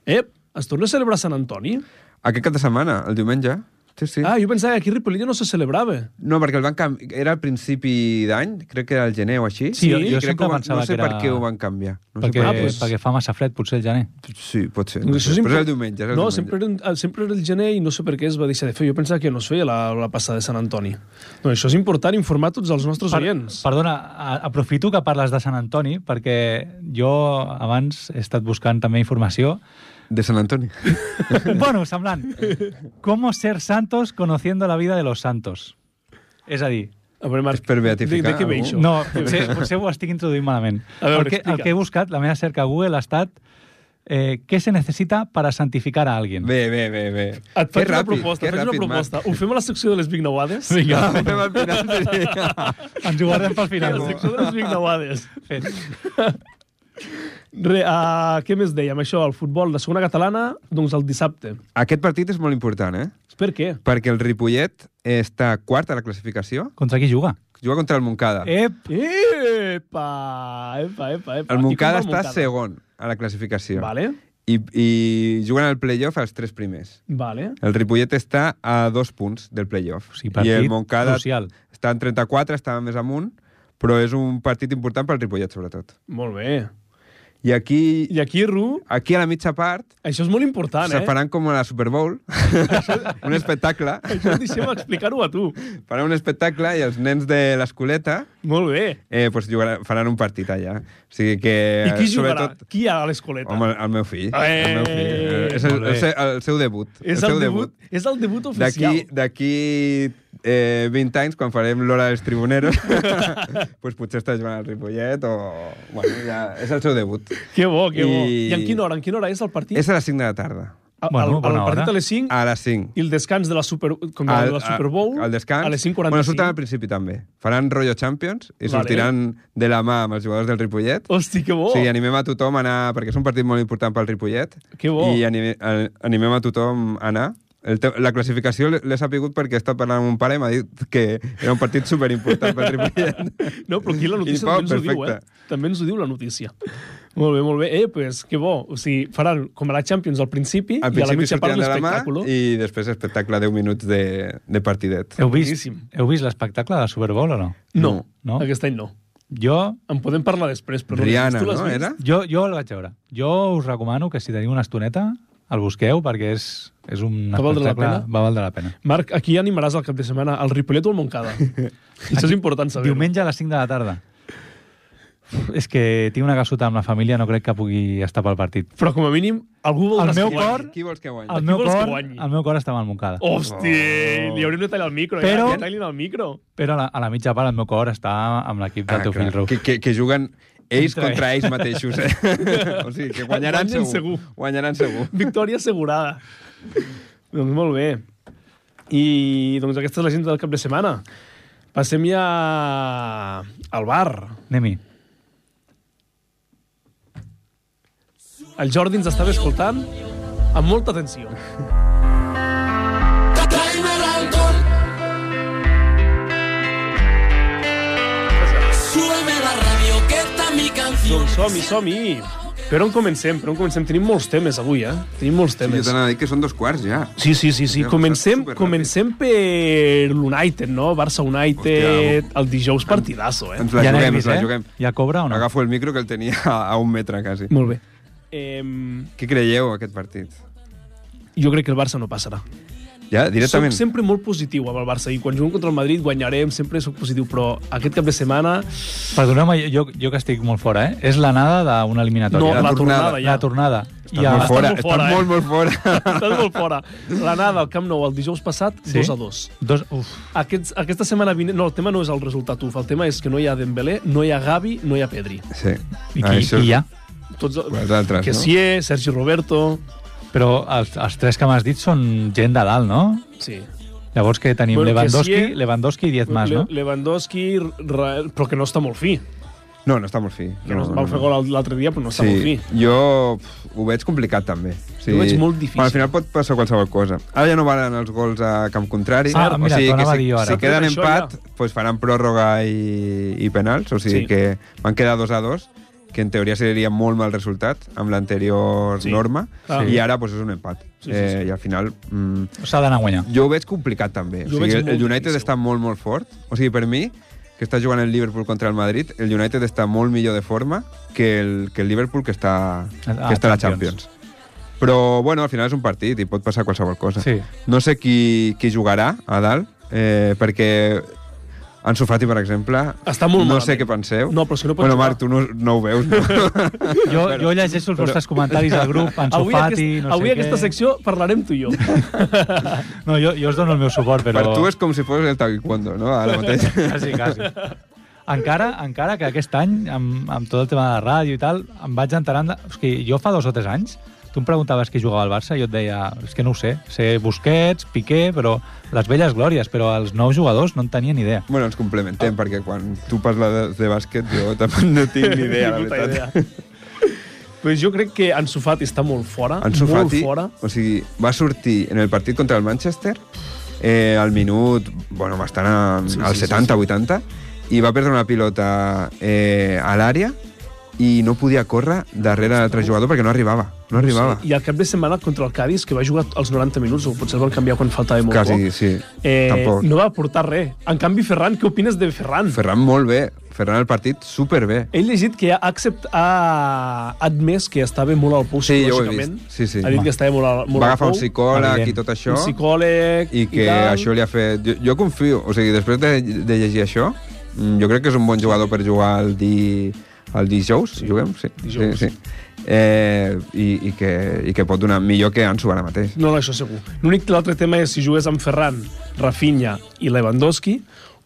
S1: Ep, es torna a celebrar Sant Antoni?
S3: Aquest cap de setmana, el diumenge. Sí, sí.
S1: Ah, jo pensava que aquí a Ripollet ja no se celebrava.
S3: No, perquè el van canvi... era al principi d'any, crec que era el gener o així.
S2: Sí,
S1: jo-
S3: I
S1: jo
S3: crec
S2: sempre
S3: que ho van-
S2: pensava
S3: No sé
S2: que era-
S3: per què ho van canviar. No
S2: perquè,
S3: sé
S1: Ah,
S2: ah,
S1: doncs-
S2: pues... perquè fa massa fred, potser, el gener.
S3: per... Sí, pot ser. No
S1: Doncs
S3: sé.
S1: això és
S3: Però és
S1: impor-
S3: el diumenge. És el
S1: No,
S3: diumenge.
S1: sempre era, ah, sempre era el gener i no sé per què es va deixar de fer. Jo pensava que no es feia la, la passada de Sant Antoni. Doncs això és important, informar tots els nostres per, oients. Per...
S2: perdona, a, aprofito que parles de Sant Antoni, perquè jo abans he estat buscant també informació.
S3: De Sant
S1: [laughs]
S3: Antoni.
S2: [laughs] bueno, semblant. ¿Cómo ser santos conociendo la vida de los santos? És a dir,
S1: A veure, Marc,
S3: És per beatificar
S1: de, de què ve
S3: algú?
S1: això?
S2: no, potser, potser ho estic introduint malament.
S1: A veure,
S2: el, que,
S1: explica.
S2: el que he buscat, la meva cerca a Google, ha estat eh, què se necessita para santificar a alguien.
S3: Bé, bé, bé, bé.
S1: Et
S3: Que
S1: faig una
S3: ràpid,
S1: proposta,
S3: que
S1: et faig una
S3: ràpid,
S1: proposta.
S3: [laughs] Marc.
S1: Ho fem a la secció de les Vignauades?
S2: Vinga,
S3: Fem el final, sí.
S2: [laughs]
S3: [laughs]
S2: ens ho guardem pel
S1: A
S2: final.
S1: la secció de les Vignauades.
S2: Fet.
S1: Re, uh, què més dèiem? Això, el futbol de segona catalana, doncs el dissabte.
S3: Aquest partit és molt important, eh?
S1: Per què?
S3: Perquè el Ripollet està quart a la classificació,
S2: Contra qui juga? Eh,
S3: juga contra el Moncada.
S1: Eh,
S2: Ep!
S1: Epa! Epa, epa, epa.
S3: el Moncada
S1: I com
S3: està
S1: va el
S3: segon a la classificació.
S1: Vale,
S3: I, I juguen al playoff els tres primers.
S1: vale.
S3: El Ripollet està a dos punts del playoff.
S2: O sigui,
S3: I el
S2: partit
S3: Montcada
S2: crucial.
S3: està en 34, està més amunt, però és un partit important pel Ripollet, sobretot.
S1: Molt bé.
S3: I aquí,
S1: I aquí, Ru,
S3: aquí a la mitja part
S1: això és molt important,
S3: se
S1: eh?
S3: faran com a la Super Bowl, [laughs] un espectacle.
S1: Això et deixem explicar-ho a tu.
S3: Faran un espectacle i els nens de l'escoleta
S1: Molt bé.
S3: eh, pues jugaran, faran un partit allà. O sigui que,
S1: I qui jugarà?
S3: Eh, sobretot,
S1: Qui hi ha a l'escoleta?
S3: Home, el meu fill. El meu fill.
S1: Eh!
S3: Eh, és el,
S2: Molt bé.
S3: el, seu, el seu debut.
S1: és,
S3: seu
S1: el debut, és el debut oficial.
S3: D'aquí d'aquí eh, 20 anys, quan farem l'hora dels tribuneros, [laughs] pues potser està jugant al Ripollet o... Bueno, ja, és el seu debut.
S1: Que bo, que bo. I...
S3: I-
S1: I en quina hora? En quina hora és el partit?
S3: És a les 5 de la tarda.
S1: A- el,
S2: Bueno,
S1: el
S2: bona
S1: partit
S2: hora.
S1: a les 5
S3: A les 5.
S1: i el descans de la Super, com de la Super Bowl
S3: Ah. al descans.
S1: a les
S3: Bueno,
S1: 5.45.
S3: surten al principi també. Faran rotllo Champions i
S1: Vale.
S3: sortiran de la mà amb els jugadors del Ripollet.
S1: Hosti, que bo.
S3: O sigui, animem a tothom a anar, perquè és un partit molt important pel Ripollet.
S1: Que bo.
S3: I anime, eh, animem a tothom a anar. El te- la classificació l- l'he sapigut perquè he estat parlant amb un pare i m'ha dit que era un partit superimportant
S1: [laughs]
S3: pel Ripollet.
S1: No, però
S3: [laughs]
S1: aquí la notícia
S3: Info,
S1: també ens ho diu, eh?
S3: perfecte.
S1: També ens ho diu la notícia. Molt bé, molt bé. Eh, pues, que bo. O sigui, faran com a la Champions al principi,
S3: Al
S1: i a la
S3: principi
S1: mitja part
S3: sortiran de la mà
S1: l'espectacle.
S3: i després espectacle 10 minuts de, de partidet.
S1: Eh,
S2: Heu vist,
S1: Boníssim.
S2: heu vist l'espectacle de Super Bowl o no?
S1: No, no,
S2: No.
S1: aquest any no.
S2: Jo,
S1: En podem parlar després, però...
S3: Rihanna,
S1: tu l'has
S3: no?
S1: vist?
S3: Era?
S2: jo, jo el vaig veure. Jo us recomano que si teniu una estoneta el busqueu perquè és, és un
S1: Va valdre la
S2: espectacle...
S1: pena?
S2: Va valdre la pena.
S1: Marc, aquí animaràs el cap de setmana al Ripollet o al [laughs] Montcada. Això és important saber-ho.
S2: Diumenge a les 5 de la tarda. És que tinc una gassota amb la família, no crec que pugui estar pel partit.
S1: Però com a mínim, algú vol
S2: El meu
S1: decidir.
S2: cor-
S3: Qui vols que guanyi?
S2: El
S1: Qui
S2: meu
S1: vols que
S2: cor,
S1: guanyi?
S2: el meu cor estava al Montcada. Oh.
S1: Hosti, li hauríem de tallar el micro. Però...
S2: Però-
S1: Ja, que tallin el micro.
S2: Però a la, a la mitja part el meu cor està amb l'equip
S1: Ah,
S2: del teu
S3: Ah, clar,
S2: fill Rou.
S3: que, que, que juguen ells
S2: Contra
S3: contra ells mateixos, eh?
S1: [laughs]
S3: o sigui, que guanyaran
S1: Guanyen
S3: segur.
S1: segur.
S3: Guanyaran segur.
S1: Victòria assegurada. [laughs] doncs molt bé. I doncs aquesta és la gent del cap de setmana. Passem ja al bar.
S2: Anem-hi.
S1: El Jordi ens estava escoltant amb molta atenció.
S6: Tráeme el alcohol.
S1: doncs som-hi, som-hi. Per on comencem? Per on comencem? Tenim molts temes avui, eh? Tenim molts
S3: Sí, jo
S1: temes.
S3: t'anava a dir que són dos quarts ja.
S1: Sí, sí, sí, sí.
S3: Ja ha passat
S1: Comencem,
S3: superràpid.
S1: comencem per l'United, no? Barça United,
S3: Hòstia,
S1: el dijous partidasso, eh?
S3: Ens la
S2: ja
S3: juguem,
S2: nervis,
S3: ens la
S2: eh?
S3: juguem.
S2: Ja cobra o no?
S3: Agafo el micro que el tenia a, a un metre, quasi.
S1: Molt bé. Em,
S3: Què creieu, aquest partit?
S1: jo crec que el Barça no passarà.
S3: Ja, directament?
S1: Soc sempre molt positiu amb el Barça i quan juguem contra el Madrid guanyarem, sempre sóc positiu, però aquest cap de setmana...
S2: Perdoneu-me, jo, jo que estic molt fora, eh? És l'anada d'una
S1: No,
S2: eliminatòria.
S1: la,
S3: tornada,
S1: tornada, ja.
S2: La tornada.
S3: Estàs molt
S1: estàs molt fora,
S3: fora, estàs
S1: eh?
S3: molt, molt
S1: [laughs]
S3: fora.
S1: Estàs molt fora. L'anada al Camp Nou el dijous passat,
S2: Sí?
S1: 2 a 2.
S2: Dos, uf,
S1: Aquests, aquesta setmana vinent... No, el tema no és el resultat uf, el tema és que no hi ha Dembélé, no hi ha Gavi, no hi ha Pedri.
S3: Sí.
S2: i,
S3: Ah,
S2: qui,
S3: això-
S2: i ja.
S1: Tots... els-
S3: Vosaltres,
S1: Que
S3: no?
S1: sí, eh? Sergi Roberto...
S2: Però els, els tres que m'has dit són gent de dalt, no?
S1: Sí.
S2: Llavors que tenim
S1: Bueno,
S2: bueno,
S1: que
S2: Lewandowski,
S1: sí, eh?
S2: Lewandowski i 10 més,
S1: Le-
S2: no?
S1: Lewandowski, Ra- però que no està molt fi.
S3: No, no està molt fi.
S1: Que no, no, va fer gol l'altre dia, però no està molt
S3: Sí,
S1: fi.
S3: jo pf, ho veig complicat, també. O sigui,
S1: Ho veig molt difícil.
S3: Bueno, al final pot passar qualsevol cosa. Ara ja no valen els gols a camp contrari.
S2: Ah, mira,
S3: o sigui,
S2: t'ho
S3: que
S2: anava a
S3: si,
S2: dir jo ara.
S3: si queden
S1: Això ja.
S3: empat, pues faran pròrroga i, i penals. O sigui
S1: Sí.
S3: sí. que van quedar dos a dos, que en teoria seria molt mal resultat amb l'anterior
S1: Sí.
S3: sí. norma.
S1: Ah.
S3: Ah. I ara pues, és un empat.
S1: Sí, sí,
S3: eh,
S1: sí.
S3: I al final... Mm,
S2: S'ha d'anar a guanyar.
S3: jo ho veig complicat també.
S1: Jo
S3: o sigui,
S1: ho veig
S3: el, el
S1: molt
S3: United
S1: difícil.
S3: està molt, molt fort. O sigui, per mi, que està jugant el Liverpool contra el Madrid, el United està molt millor de forma que el, que el Liverpool que està,
S2: Ah,
S3: que està a la
S2: Champions.
S3: Champions. Però, bueno, al final és un partit i pot passar qualsevol cosa.
S2: Sí.
S3: No sé qui, qui jugarà a dalt, eh, perquè Ansu Fati, per exemple,
S1: Està molt
S3: no
S1: malament.
S3: sé què penseu.
S1: No, però si no pot
S3: bueno,
S1: jugar.
S3: Marc, tu no, no ho
S1: [laughs]
S3: veus, no?
S2: Jo, jo llegeixo els vostres comentaris al grup, en
S1: Avui,
S2: Sofati,
S1: aquest,
S2: no sé
S1: avui
S2: què...
S1: aquesta secció parlarem
S3: [laughs]
S1: tu i jo.
S2: No, jo, jo us dono el meu suport, però...
S3: Per tu és com si fos el taekwondo, no? Ara mateix.
S1: [laughs]
S2: Quasi, quasi. Encara, encara que aquest any, amb, amb tot el tema de la ràdio i tal, em vaig enterant... De... És que jo fa dos o tres anys, tu em preguntaves qui jugava al Barça i jo et deia, és que no ho sé, sé Busquets, Piqué, però les velles glòries, però els nous jugadors no en tenia ni idea.
S3: Bueno, ens
S1: Ah.
S3: complementem, perquè quan tu parles de, de bàsquet jo tampoc no tinc ni idea, la
S1: Ni puta
S3: veritat. Idea.
S1: idea. Pues jo crec que Ansu Fati està molt fora,
S3: Ansu
S1: molt
S3: Fati,
S1: fora.
S3: o sigui, va sortir en el partit contra el Manchester eh, al minut, bueno, bastant a, sí, al
S1: sí, sí,
S3: 70-80, i va perdre una pilota eh, a l'àrea i no podia córrer darrere l'altre jugador perquè no arribava, no arribava.
S1: I al cap de setmana contra el Cádiz, que va jugar els 90 minuts, o potser el van canviar quan faltava molt
S3: Quasi,
S1: poc,
S3: sí,
S1: eh,
S3: tampoc.
S1: no va aportar res. En canvi, Ferran, què opines de Ferran?
S3: Ferran molt bé, Ferran el partit superbé.
S1: He llegit que ha, accept, ha admès que estava molt al pou
S3: Sí, jo ho he
S1: psicològicament.
S3: vist. Sí, sí.
S1: Ha dit que estava molt, al- molt
S3: Va
S1: al
S3: agafar un
S1: pou,
S3: psicòleg i
S2: evident.
S3: tot això.
S1: un psicòleg
S3: i que
S1: tal.
S3: això li ha fet... Jo, jo confio, o sigui, després de, de llegir això, mm, jo crec que és un bon jugador per jugar el, di, el dijous, sí. juguem? Sí,
S1: Dijous.
S3: sí, sí. Eh, i, i, que, I que pot donar millor que Ansu ara mateix.
S1: No, no, això segur. L'únic l'altre tema és si jugués amb Ferran, Rafinha i Lewandowski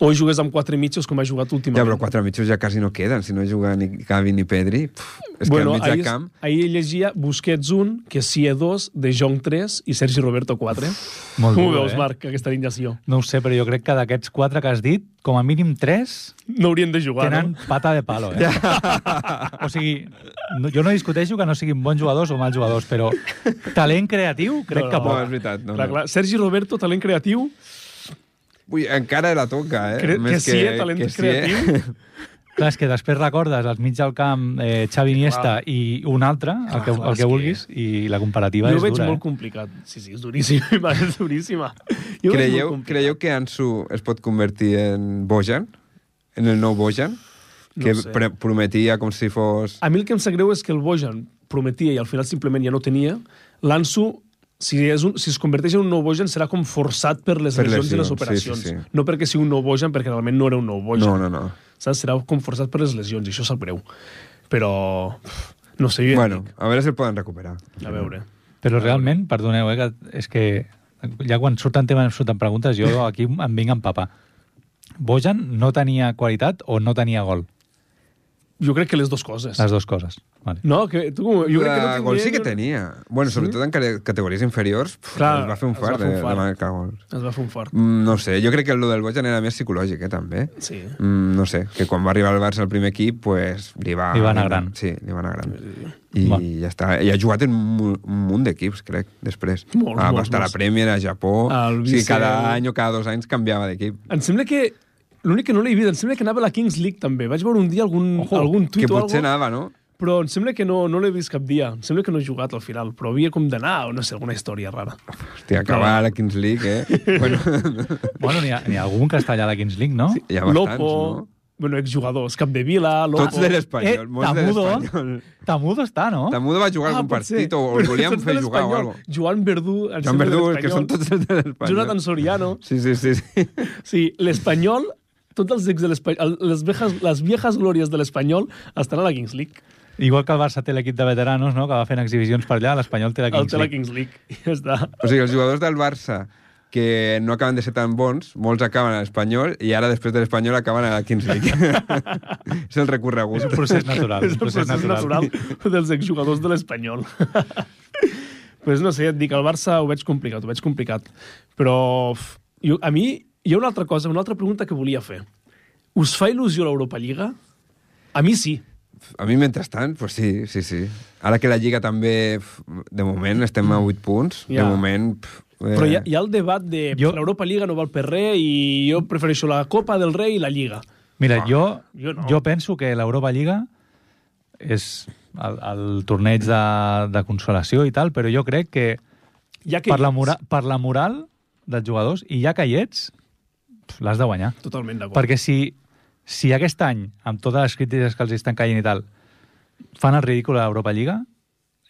S1: o jugués amb quatre mitjos com ha jugat últimament.
S3: Ja, però quatre mitjos ja quasi no queden, si no juga ni Gavi ni Pedri. Puf, és
S1: bueno,
S3: que al mig
S1: ahir,
S3: de camp...
S1: ahir llegia Busquets 1, que sí 2, De Jong 3 i Sergi Roberto 4.
S2: Molt
S1: Com ho
S2: dur,
S1: veus,
S2: eh?
S1: Marc, aquesta alineació?
S2: No ho sé, però jo crec que d'aquests quatre que has dit, com a mínim tres
S1: No haurien de jugar,
S2: tenen
S1: no?
S2: pata de palo, eh? O sigui, no, jo no discuteixo que no siguin bons jugadors o mals jugadors, però talent creatiu crec
S1: No, no,
S2: que
S3: No,
S2: poc.
S3: és veritat. No,
S1: clar,
S3: no.
S1: clar. Sergi Roberto, talent creatiu,
S3: Ui, encara la toca, eh?
S1: cre que,
S3: Més
S1: sí, eh? talent
S3: que sí, eh?
S1: creatiu.
S3: [laughs]
S2: Clar, és que després recordes al mig del camp eh, Xavi Iniesta i un altre, el que,
S1: clar,
S2: el
S1: Ah, és que-
S2: que vulguis, i la comparativa
S1: Jo ho
S2: és
S1: veig
S2: dura. eh?
S1: molt complicat. Sí, sí, és [laughs] duríssima, és duríssima. Jo ho veig molt
S3: Creieu,
S1: complicat.
S3: creieu que Ansu es pot convertir en Bojan? En el nou Bojan?
S1: No
S3: Que
S1: ho sé. Ah,
S3: pre- prometia com si fos...
S1: A mi el que em sap greu és que el Bojan prometia i al final simplement ja no tenia. L'Anso, si, és un, si es converteix en un nou Bojan, serà com forçat per les
S3: Per
S1: per lesions i les
S3: lesions, sí,
S1: operacions. Sí,
S3: sí,
S1: sí,
S3: sí.
S1: No perquè sigui un nou Bojan, perquè realment no era un nou Bojan.
S3: No, no, no.
S1: Saps? Serà com forçat per les lesions, i això sap greu. Però... pff, No sé, jo ja
S3: Bueno,
S1: et
S3: a veure si el poden recuperar.
S1: dic. A veure.
S2: Però realment, perdoneu, eh, que és que ja quan surten temes, surten preguntes, jo aquí em vinc amb papa. Bojan no tenia qualitat o no tenia gol?
S1: Jo crec que les dues coses.
S2: Les dues coses. Vale.
S1: No, que tu... com- Jo crec que no
S3: Ah, gol sí que
S1: jo-
S3: tenia. Bueno, sobretot en cate- categories inferiors, pf,
S1: Clar,
S3: es va fer un
S1: es va
S3: fart,
S1: fer un
S3: de, de
S1: fart.
S3: marcar gols.
S1: Es va fer un fort.
S3: Mm, No ho sé, jo crec que el del Bojan era més psicològic, eh, també.
S1: Sí.
S3: Mm, no sé, que quan va arribar al Barça al primer equip, pues, li va...
S2: Li va anar gran.
S3: Sí, li va anar gran. I
S2: Va.
S3: ja està. I ha jugat en mu- un munt d'equips, crec, després.
S1: Molts,
S3: ah, va
S1: molts,
S3: estar a la
S1: molts.
S3: Premier, a Japó...
S1: Al
S3: o sigui,
S1: Vissel.
S3: cada any o cada dos anys canviava d'equip.
S1: Em sembla que L'únic que no l'he vist, em sembla que anava a la Kings League també. Vaig veure un dia algun,
S2: Ojo,
S1: algun tuit
S3: Que
S1: o
S3: potser
S1: alguna
S3: anava, no?
S1: però em sembla que no, no l'he vist cap dia. Em sembla que no he jugat al final, però havia com d'anar, o no sé, alguna història rara.
S3: Hòstia, acabar a la Kings League,
S1: [laughs]
S3: eh? bueno, [laughs]
S2: Bueno, n'hi ha, n'hi ha algun que està allà a la Kings League, no? Sí.
S3: hi ha bastants,
S1: Lopo,
S3: no?
S1: bueno, exjugadors, Capdevila, Lopo...
S3: Tots de l'Espanyol,
S2: Eh,
S3: molts de
S2: Tamudo.
S3: l'Espanyol.
S2: Tamudo està, no?
S3: Tamudo va jugar
S1: Ah,
S3: algun
S1: pot ser.
S3: partit o o el
S1: Però
S3: volíem
S1: tots de
S3: fer jugar o
S1: l'Espanyol.
S3: alguna cosa.
S1: Joan Verdú, em
S3: Joan
S1: sembla, de
S3: Verdú, és que
S1: l'Espanyol.
S3: són tots els de l'Espanyol.
S1: Jonathan Soriano.
S3: Sí, sí, sí. sí.
S1: Sí, l'Espanyol, tots els ex de l'Espanyol, les, viejas, les viejas glòries de l'Espanyol estan a la Kings League.
S2: Igual que el Barça té l'equip de veteranos, no?, que va fent exhibicions per allà, l'Espanyol té la
S1: El
S2: Kings
S1: té a la
S2: League.
S1: Kings League. [laughs] Ja està.
S3: O sigui, els jugadors del Barça que no acaben de ser tan bons, molts acaben a l'Espanyol i ara després de l'Espanyol acaben a la Kings
S1: [laughs]
S3: League. és el recorregut.
S2: És un procés natural.
S1: és el procés natural, dels exjugadors de l'Espanyol. [laughs] pues no sé, ja et dic, el Barça ho veig complicat, ho veig complicat. Però uf, jo, a mi hi ha una altra cosa, una altra pregunta que volia fer. Us fa il·lusió l'Europa Lliga? A mi sí.
S3: A mi, mentrestant, pues sí, sí, sí. Ara que la Lliga també... f- De moment estem a 8 punts.
S1: Ja.
S3: De moment... pf, eh,
S1: Però hi ha, hi ha el debat de
S2: Jo-
S1: jo... l'Europa Lliga no val per res i jo prefereixo la Copa del Rei i la Lliga.
S2: Mira, jo,
S1: Ah, jo
S2: jo,
S1: no.
S2: no. jo penso que l'Europa Lliga és el, el torneig de, de consolació i tal, però jo crec que
S1: Ja que
S2: per la, mora, per la moral dels jugadors, i ja que hi ets, pf, l'has de guanyar.
S1: Totalment d'acord.
S2: Perquè si, si aquest any, amb totes les crítiques que els estan caient i tal, fan el ridícul a l'Europa Lliga,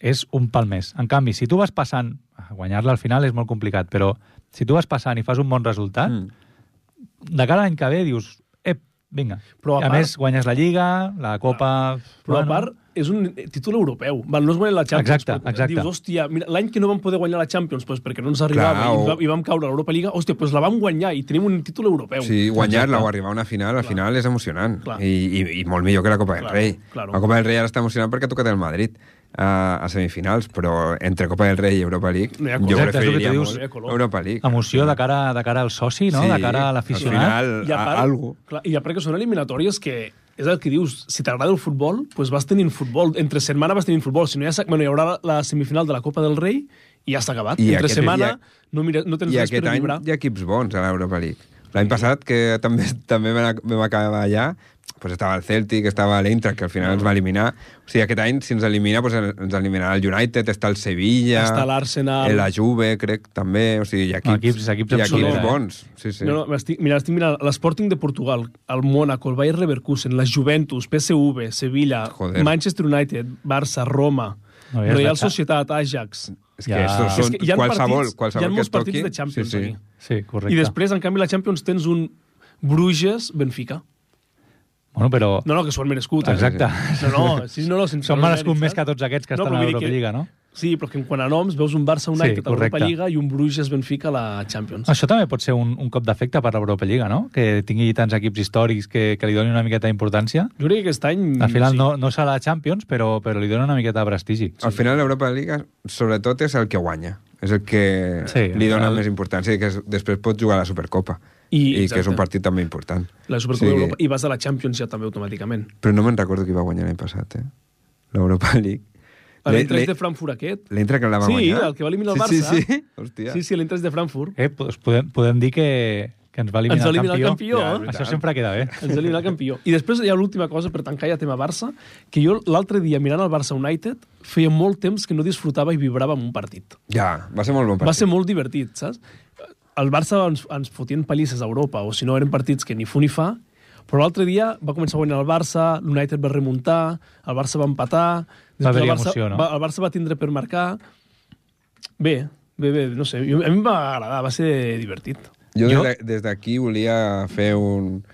S2: és un pal més. En canvi, si tu vas passant, guanyar-la al final és molt complicat, però si tu vas passant i fas un bon resultat,
S3: Mm.
S2: mm. de cara a l'any que ve dius, ep, vinga.
S1: Però a
S2: Però a, a
S1: part-
S2: més, guanyes la Lliga, la Copa...
S1: Però bueno. a part, és un títol europeu. Val, no es guanya la Champions.
S2: Exacte,
S1: però
S2: exacte.
S1: Dius, hòstia, mira, l'any que no vam poder guanyar la Champions pues, perquè no ens arribava Clar,
S3: Clar,
S1: i,
S3: o-
S1: va, i vam caure a l'Europa Lliga, hòstia, pues la vam guanyar i tenim un títol europeu.
S3: Sí, guanyar-la
S2: Exacte.
S3: o arribar a una final, al final és emocionant.
S1: Clar.
S3: I, i, I molt millor que la Copa del
S1: Clar,
S3: Rei.
S1: claro.
S3: La Copa del Rei ara està emocionant perquè ha tocat el Madrid eh, a, a semifinals, però entre Copa del Rei i Europa League,
S1: No hi ha color.
S3: jo
S2: Exacte, és el que
S3: preferiria
S2: tu dius.
S3: molt
S1: No hi ha color.
S3: Europa League.
S2: Emoció de cara, de cara al soci, no?
S3: Sí,
S2: de cara a l'aficionat.
S3: Al
S1: I a
S3: final,
S1: part,
S3: a, algo.
S1: clar, I a part que són eliminatòries que és el que dius, si t'agrada el futbol, pues vas tenint futbol. Entre setmana vas tenint futbol. Si no hi, ha, se- bueno, hi haurà la semifinal de la Copa del Rei i ja s'ha acabat.
S3: I
S1: Entre
S3: aquest-
S1: setmana
S3: i a-
S1: no, mira, no tens
S3: I
S1: res per
S3: aquest any
S1: vibrar.
S3: hi ha equips bons a l'Europa League. L'any passat, que també [laughs] també vam ac- vam acabar allà, pues estava el Celtic, estava l'Eintracht, que al final ens va eliminar. O sigui, aquest any, si ens elimina, pues ens eliminarà el United, està el Sevilla... eh,
S1: Està l'Arsenal.
S3: La Juve, crec, també. O sigui, hi ha equips,
S2: Equips- equips
S3: hi ha
S2: absoluts,
S3: equips
S2: eh?
S3: bons. Sí, sí.
S1: No, no, estic, mira, estic mirant l'Sporting de Portugal, el Mónaco, el Bayer Leverkusen, la Juventus, PSV, Sevilla,
S3: Joder.
S1: Manchester United, Barça, Roma,
S2: No,
S1: no, ja
S2: ja
S1: Real
S2: està.
S1: Societat, Ajax...
S3: És que
S2: Ja.
S3: ja.
S2: És
S3: són
S1: que hi ha
S3: qualsevol,
S1: partits,
S3: qualsevol
S1: hi ha
S3: que
S1: molts
S3: es toqui.
S1: partits de Champions
S3: sí, sí.
S1: aquí.
S2: Sí, correcte.
S1: I després, en canvi, la Champions tens un Bruges-Benfica.
S2: Bueno, però...
S1: No, no, que s'ho han merescut. eh?
S2: Exacte.
S1: No, no, sí, no, no, sense
S2: Són
S1: no
S2: merescut
S1: mèrits,
S2: més
S1: eh?
S2: que tots aquests que
S1: No,
S2: estan
S1: però
S2: a
S1: vull dir
S2: l'Europa
S1: que-
S2: Lliga, no?
S1: Sí, però que en quant a noms veus un Barça United a l'Europa
S2: correcte.
S1: Lliga i un Bruges-Benfica a la Champions.
S2: Això també pot ser un, un cop d'efecte per l'Europa Lliga, no? Que tingui tants equips històrics que, que li donin una miqueta d'importància.
S1: Jo crec que aquest any...
S2: Al final
S1: Mm, sí.
S2: no, no serà la Champions, però, però li dona una miqueta de prestigi.
S3: Al final, l'Europa League, sobretot, és el que guanya. És el que
S2: Sí,
S3: sí, li dona
S2: el-
S3: més importància i que és, després pot jugar a la Supercopa.
S1: I-
S3: I, I que és
S1: exacte.
S3: un partit també important.
S1: La Supercopa
S3: O sigui,
S1: d'Europa i vas a la Champions ja també automàticament.
S3: Però no me'n recordo qui va guanyar l'any passat, eh? L'Europa League.
S1: L'entreix de Frankfurt aquest.
S3: L'entra que la va
S1: Sí,
S3: guanyar.
S1: el que va eliminar el
S3: Sí,
S1: Barça.
S3: sí, sí. Hòstia.
S1: Sí, sí, l'entreix de Frankfurt.
S2: Eh, doncs podem, podem dir que, que ens va eliminar,
S1: Ens va eliminar el campió,
S2: Ja,
S1: eh?
S2: Això sempre queda bé.
S1: Ens ha eliminat campió. I després hi ha l'última cosa, per tancar ja tema Barça, que jo l'altre dia, mirant el Barça United, feia molt temps que no disfrutava i vibrava amb un partit.
S3: Ja, va ser molt bon
S1: Va
S3: partit.
S1: ser molt divertit, saps? El Barça ens, ens fotien pallisses a Europa, o si no, eren partits que ni fu ni fa, però l'altre dia va començar a guanyar el Barça, l'United va remuntar, el Barça va empatar, després
S2: haver-hi
S1: el, Barça,
S2: emoció, no?
S1: va, el Barça va tindre per marcar... Bé, bé, bé, no sé, jo, a mi em va agradar, va ser divertit.
S3: Jo,
S2: Jo-
S3: jo? des d'aquí volia fer un,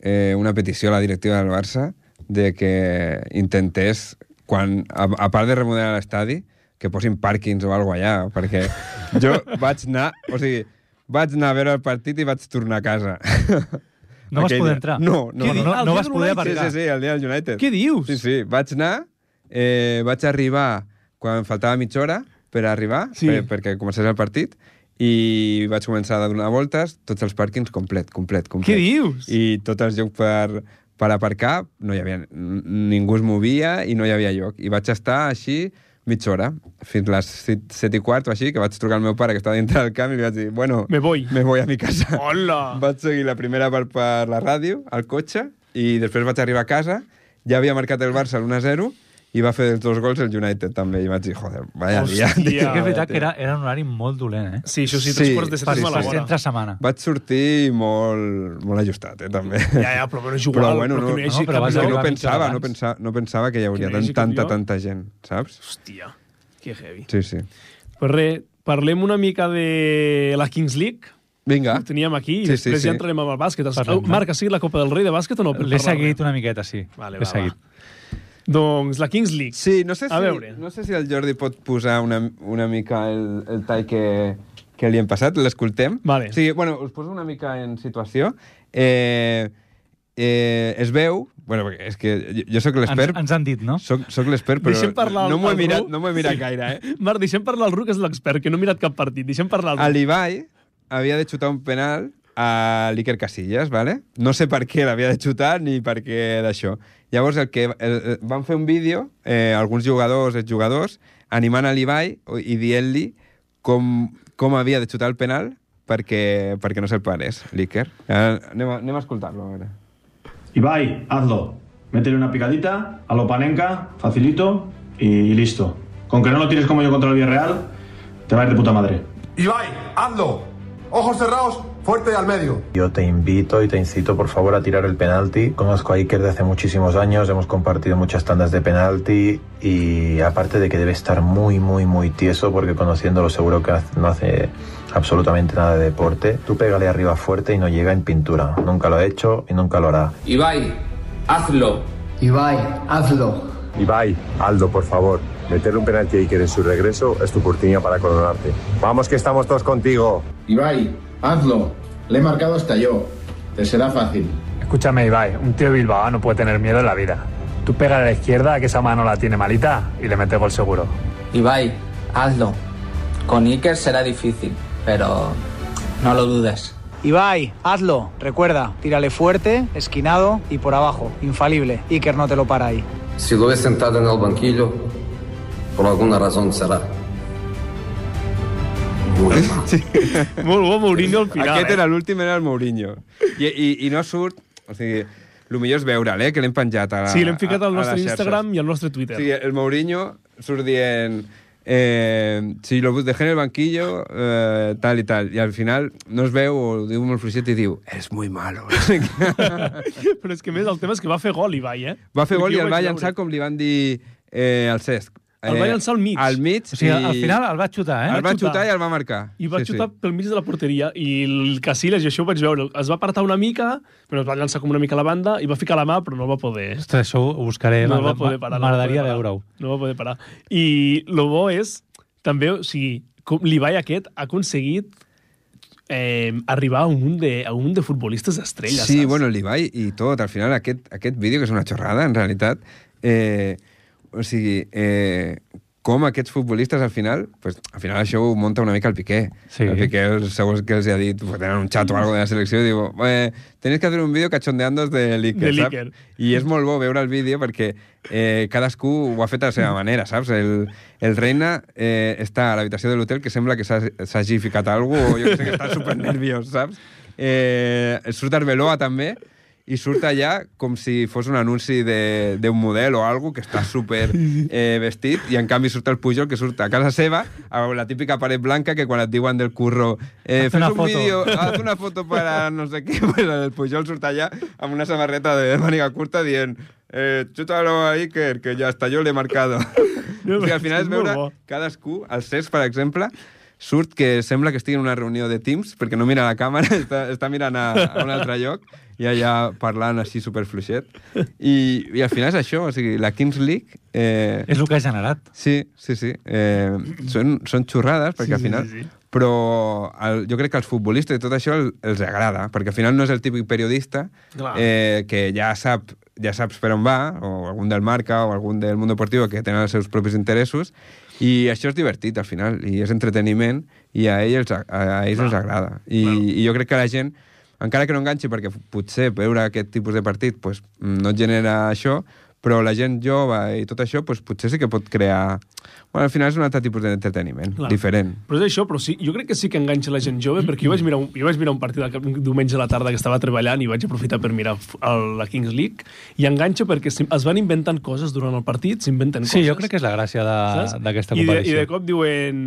S3: eh, una petició a la directiva del Barça de que intentés, quan, a, a part de remodelar l'estadi, que posin pàrquings o alguna allà, perquè jo vaig anar... O sigui, vaig anar a veure el partit i vaig tornar a casa.
S2: No vas
S3: Aquell
S2: poder
S3: dia.
S2: entrar.
S3: No, no,
S2: no,
S1: Què
S3: no.
S1: dius?
S2: no,
S1: Ah, el
S2: no
S1: dia
S2: vas
S1: del
S2: poder
S1: United.
S3: Sí,
S2: aparcar.
S3: sí, sí, el dia del United.
S1: Què dius?
S3: Sí, sí, vaig anar, eh, vaig arribar quan faltava mitja hora per arribar,
S1: Sí.
S3: sí. per, perquè comencés el partit, i vaig començar a donar voltes, tots els pàrquings complet, complet, complet.
S1: Què dius?
S3: I tots els llocs per, per aparcar, no hi havia... n- Ningú es movia i no hi havia lloc. I vaig estar així mitja hora, fins les 7 i quart o així, que vaig trucar al meu pare que estava dintre del camp i li vaig dir, bueno,
S1: Me voy.
S3: me voy a mi casa.
S1: Hola!
S3: Vaig seguir la primera part per la ràdio, al cotxe, i després vaig arribar a casa, ja havia marcat el Barça l'1-0, i va fer els dos gols el United també, i vaig dir, joder, vaya
S1: Hòstia.
S3: dia.
S2: Sí que és
S1: Ja,
S2: veritat que era, era un horari molt dolent, eh?
S1: Sí, això sí, tres
S3: Sí,
S1: quarts de set
S2: Per
S1: és
S3: sí,
S1: mala
S3: sí.
S2: ser
S1: hora.
S2: entre setmana.
S3: Vaig sortir molt, molt ajustat, eh, també.
S1: Ja,
S3: [laughs]
S1: ja, però bueno, és igual.
S3: Però bueno,
S1: però
S3: no-
S1: que no, hi
S2: no,
S1: hagi
S2: però
S1: cap
S2: vas
S3: És que
S1: lloc.
S3: no
S2: arribar
S3: pensava,
S2: mitja
S3: no
S2: abans.
S3: pensava, no pensava que hi hauria
S1: Que no hi
S3: tant,
S1: hagi cap
S3: tanta,
S1: lloc.
S3: tanta gent, saps?
S1: Hòstia, que heavy.
S3: Sí, sí.
S1: Pues res, parlem una mica de la Kings League.
S3: Vinga.
S1: Ho teníem aquí i
S3: Ah. Sí, sí,
S1: després
S3: sí.
S1: ja entrarem amb el bàsquet.
S2: Parlem,
S1: Marc, ha seguit la Copa del Rei de bàsquet o no? Per
S2: L'he
S1: parlar-ne.
S2: seguit una miqueta, sí.
S1: Vale,
S2: L'he
S1: va,
S2: seguit.
S1: Doncs la Kings League.
S3: Sí, no sé,
S1: A veure.
S3: si, no sé si el Jordi pot posar una, una mica el, el tall que, que li hem passat, l'escoltem.
S1: Vale.
S3: O sigui, bueno, us poso una mica en situació. Eh, eh, es veu... Bueno, perquè és que jo, jo sóc
S2: Ens,
S3: l'expert,
S2: ens han dit, no?
S3: soc, soc l'expert, però
S1: Deixem parlar
S3: no
S1: al-
S3: m'ho
S1: al
S3: he mirat,
S1: Ru.
S3: no m'ho he mirat sí. gaire, eh?
S1: [laughs] Marc, deixem parlar al Ruc, que és l'expert, que no ha mirat cap partit. Deixem parlar al Ruc.
S3: L'Ibai havia de xutar un penal a l'Iker Casillas, ¿vale? no sé per què l'havia de xutar ni per què d'això. Llavors el que, el, el- van fer un vídeo, eh, alguns jugadors, exjugadors, animant a l'Ibai i dient-li com, com havia de xutar el penal perquè, perquè no se'l parés, l'Iker. Eh, anem a, anem a escoltar-lo, a veure.
S6: Ibai, hazlo. Métele una picadita, a lo panenca, facilito y, y listo. Con que no lo tires como yo contra el Villarreal, te va a ir de puta madre.
S7: Ibai, hazlo. Ojos cerrados, fuerte al medio.
S8: Yo te invito y te incito por favor a tirar el penalti. Conozco a Iker de hace muchísimos años, hemos compartido muchas tandas de penalti y aparte de que debe estar muy, muy, muy tieso porque conociéndolo seguro que haz- no hace absolutamente nada de deporte. Tú pégale arriba fuerte y no llega en pintura. Nunca lo ha hecho y nunca lo hará.
S9: Ibai, hazlo.
S10: Ibai, hazlo.
S8: Ibai, Aldo, por favor, meterle un penalti a Iker en su regreso es tu oportunidad para coronarte. Vamos que estamos todos contigo.
S7: Ibai, hazlo. Le he marcado hasta yo. Te será fácil.
S11: Escúchame, Ibai, un tío Bilbao no puede tener miedo en la vida. Tú pega a la izquierda, que esa mano la tiene malita, y le metes gol seguro.
S9: Ibai, hazlo. Con Iker será difícil, pero no lo dudes.
S10: Ibai, hazlo. Recuerda, tírale fuerte, esquinado y por abajo. Infalible. Iker no te lo para ahí.
S9: Si lo ves sentado en el banquillo, por alguna razón será.
S1: Molt bo, Mourinho, al final.
S3: Aquest
S1: eh?
S3: era l'últim, era el Mourinho. I, i, i no surt... O sigui, el millor és veure'l, eh, que l'hem penjat a la,
S1: Sí, l'hem ficat
S3: Ah, a-
S1: al
S3: a les
S1: nostre
S3: xarxes.
S1: Instagram i al nostre Twitter.
S3: Sí, eh? el Mourinho surt dient... Eh, si lo dejé en el banquillo, eh, tal i tal. I al final no es veu, ho diu molt fluixet i diu és muy
S1: [laughs]
S3: malo.
S1: [laughs] Però és que a més el tema és que va fer gol, Ibai, eh?
S3: va fer gol
S1: Perquè
S3: i
S1: jo
S3: el
S1: vaig
S3: va
S1: veure.
S3: llançar com li van dir eh, al Cesc.
S1: El va llançar al mig.
S3: Al mig.
S2: O sigui, al final el va xutar, eh?
S3: el va xutar
S1: xutar.
S3: i el va marcar.
S1: I va sí, xutar sí. pel mig de la porteria. I el Casillas, i això ho vaig veure, es va apartar una mica, però es va llançar com una mica a la banda i va ficar la mà, però no el va poder. eh?
S2: Ostres, això ho buscaré.
S1: No el va
S2: Eh, m'agrada-
S1: poder parar. no el va
S2: M'agradaria
S1: poder parar.
S2: veure-ho.
S1: No el va poder parar. I el bo és, també, o sigui, com l'Ibai aquest ha aconseguit eh, arribar a un de, a un de futbolistes estrella,
S3: Sí,
S1: saps?
S3: bueno, l'Ibai i tot. Al final, aquest, aquest vídeo, que és una xorrada, en realitat, eh, o sigui, eh, com aquests futbolistes al final, pues, al final això ho munta una mica el Piqué.
S2: Sí.
S3: El Piqué, els- segons que els ha dit, pues, tenen un xat o algo de la selecció, i diu, eh, tenéis que hacer un vídeo cachondeando de l'Iker,
S1: De
S3: saps?
S1: l'Iker.
S3: I és molt bo veure el vídeo perquè eh, cadascú ho ha fet a la seva manera, saps? El, el Reina eh, està a l'habitació de l'hotel que sembla que s'ha- s'hagi ficat algú o jo que sé que està super nerviós, saps? Eh, surt Arbeloa també i surt allà com si fos un anunci de- d'un model o algo que està super eh, vestit i en canvi surt el Pujol que surt a casa seva amb la típica paret blanca que quan et diuen del curro eh,
S2: Haz
S3: fes
S2: una
S3: un
S2: foto.
S3: vídeo, haz una foto para no sé qué, [laughs] pues el Pujol surt allà amb una samarreta de màniga curta dient eh, chútalo a Iker, que ja hasta yo le he marcado.
S1: No,
S3: o sigui, al
S1: és
S3: final és
S1: molt
S3: veure
S1: bo.
S3: cadascú, el Cesc, per exemple, surt que sembla que estigui en una reunió de Teams perquè no mira la càmera, [laughs] està, està mirant a, a un altre lloc i allà parlant així superfluixet. I, I al final és això, o sigui, la Kings League... Eh,
S2: És el que ha generat.
S3: Sí, sí, sí. Eh, són, són xorrades, perquè al final...
S1: sí, sí.
S3: Però el, jo crec que als futbolistes i tot això el- els agrada, perquè al final no és el típic periodista
S1: Clar.
S3: eh, que ja sap ja saps per on va, o algun del Marca o algun del Mundo Deportivo que tenen els seus propis interessos, i això és divertit al final, i és entreteniment, i a ells, a, a ells els agrada. I, I jo crec que la gent, encara que no enganxi, perquè potser veure aquest tipus de partit pues, mm, no et genera això, Però la gent jove i tot això, doncs, potser sí que pot crear... Bueno, al final és un altre tipus d'entreteniment,
S1: Clar.
S3: diferent.
S1: Però és això, però sí, jo crec que sí que enganxa la gent jove, perquè jo vaig mirar un, jo vaig mirar un partit el cap- un diumenge a la tarda que estava treballant i vaig aprofitar per mirar f- el, la Kings League, i enganxa perquè s'im- es van inventant coses durant el partit, s'inventen
S2: Sí,
S1: coses.
S2: jo crec que és la gràcia de-
S1: Saps?
S2: Ah, d'aquesta
S1: I de, I
S2: comparació.
S1: de cop diuen...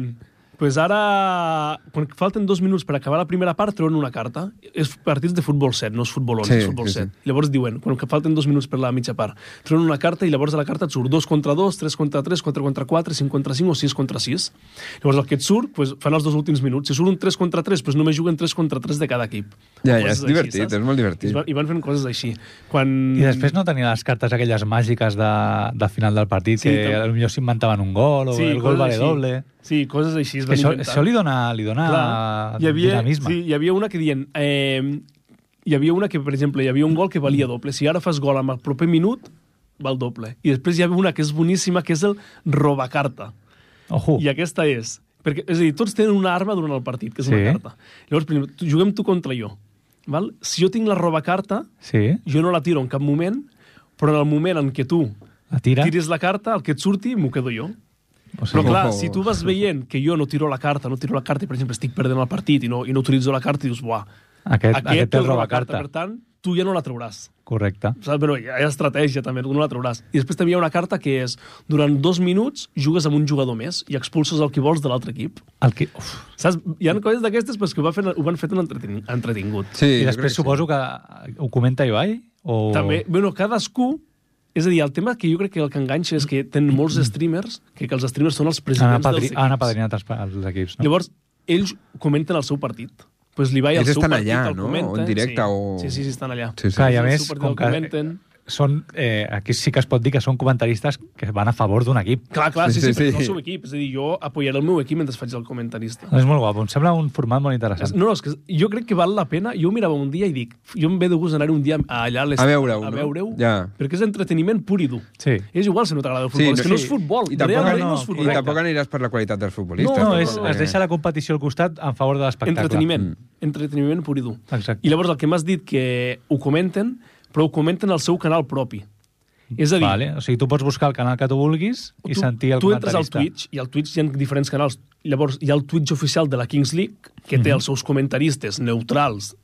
S1: Pues ara, quan falten dos minuts per acabar la primera part, treuen una carta. És partits de futbol 7, no és futbol 11,
S3: Sí,
S1: és futbol
S3: sí, sí.
S1: 7. Llavors diuen, quan que falten dos minuts per la mitja part, treuen una carta i llavors a la carta et surt 2 contra 2, 3 contra 3, 4 contra 4, 5 contra 5 o 6 contra 6. Llavors el que et surt, pues, fan els dos últims minuts. Si surt un 3 contra 3, pues, només juguen 3 contra 3 de cada equip.
S3: Ja,
S1: Coses
S3: ja, és
S1: així,
S3: divertit,
S1: saps?
S3: és molt
S1: I, es
S3: divertit.
S1: van, I van fent coses així. Quan...
S2: I després no tenia les cartes aquelles màgiques de, de final del partit,
S1: Sí,
S2: sí, que
S1: tam-
S2: tam... potser s'inventaven un gol, o sí, el gol
S1: coses
S2: vale
S1: així.
S2: doble...
S1: Sí, coses així es
S2: Que
S1: van
S2: això,
S1: inventar.
S2: això li dona, li dona
S1: Clar, hi havia,
S2: Ah, dinamisme.
S1: sí, hi havia una que dient... Eh, hi havia una que, per exemple, hi havia un gol que valia doble. Si ara fas gol amb el proper minut, val doble. I després hi havia una que és boníssima, que és el robacarta.
S2: Ojo.
S1: I aquesta és... Perquè, és a dir, tots tenen una arma durant el partit, que és sí.
S2: Sí.
S1: una carta. Llavors, primer, tu- juguem tu contra jo. Val? Si jo tinc la robacarta,
S2: Sí,
S1: jo no la tiro en cap moment, però en el moment en què tu
S2: la tira.
S1: tiris la carta, el que et surti, m'ho quedo jo.
S2: O
S1: Però clar, si
S2: tu...
S1: tu vas veient que jo no tiro la carta, no tiro la carta i, per exemple, estic perdent el partit i no, i no utilitzo la carta i dius, buah,
S2: Aquest, aquest, aquest
S1: té
S2: el roba carta.
S1: Per tant, tu ja no la trauràs.
S2: Correcte.
S1: Saps? Però hi ha estratègia també, tu no la trauràs. I després també hi ha una carta que és, durant dos minuts jugues amb un jugador més i expulses el que vols de l'altre equip.
S2: El que... Uf.
S1: Saps? Hi
S2: Mm.
S1: ha coses d'aquestes però és que ho, va fent, ho van fet un entreten entretingut.
S3: Sí,
S2: I després suposo que ho comenta Ibai? O...
S1: També, bueno, cadascú... És a dir, el tema que jo crec que el que enganxa és que tenen
S2: Mm.
S1: molts streamers, que, que els streamers són els
S2: Han,
S1: presidents
S2: apadri...
S1: dels equips.
S2: han apadrinat els, pa- els
S3: Ah.
S2: equips, no?
S1: Llavors, ells comenten el seu partit. Pues li va al
S3: Ells
S1: seu
S3: estan
S1: partit,
S3: allà,
S1: el
S3: no?
S1: comenta.
S3: O en directe
S1: sí.
S3: o-
S1: Sí, sí, sí, estan allà.
S3: Sí, sí.
S2: Clar, i a
S1: El seu
S2: més,
S1: partit
S2: com
S1: el
S2: que
S1: comenten.
S2: són, eh, aquí sí que es pot dir que són comentaristes que van a favor d'un equip.
S1: Clar, clar, sí, sí, sí, sí. perquè no som equip. És a dir, jo apoyaré el meu equip mentre faig el comentarista.
S2: És molt guapo, em sembla un format molt
S1: És-
S2: interessant.
S1: No, no, és que jo crec que val la pena. Jo ho mirava un dia i dic, jo em ve de gust anar un dia allà a, les,
S3: A veure-ho,
S1: a
S3: no?
S1: veure-ho
S3: Ja.
S1: perquè és entreteniment pur i dur.
S2: Sí.
S1: És igual si no t'agrada el futbol, és que no és futbol.
S3: I tampoc,
S1: Realment no, és futbol.
S3: I tampoc aniràs per la qualitat dels futbolistes.
S2: No, és,
S3: tampoc,
S2: es
S3: eh?
S2: deixa la competició al costat en favor de l'espectacle.
S1: Entreteniment. Entreteniment pur i dur.
S2: Mm. Exacte.
S1: I llavors el que m'has dit que ho comenten, però ho comenten al seu canal propi. És a dir,
S2: Vale. O sigui, tu pots buscar el canal que tu vulguis i
S1: tu,
S2: sentir el
S1: tu entres al
S2: comentarista.
S1: Twitch, i al Twitch hi ha diferents canals. Llavors, hi ha el Twitch oficial de la Kings League, que té
S2: Mhm.
S1: els seus comentaristes neutrals,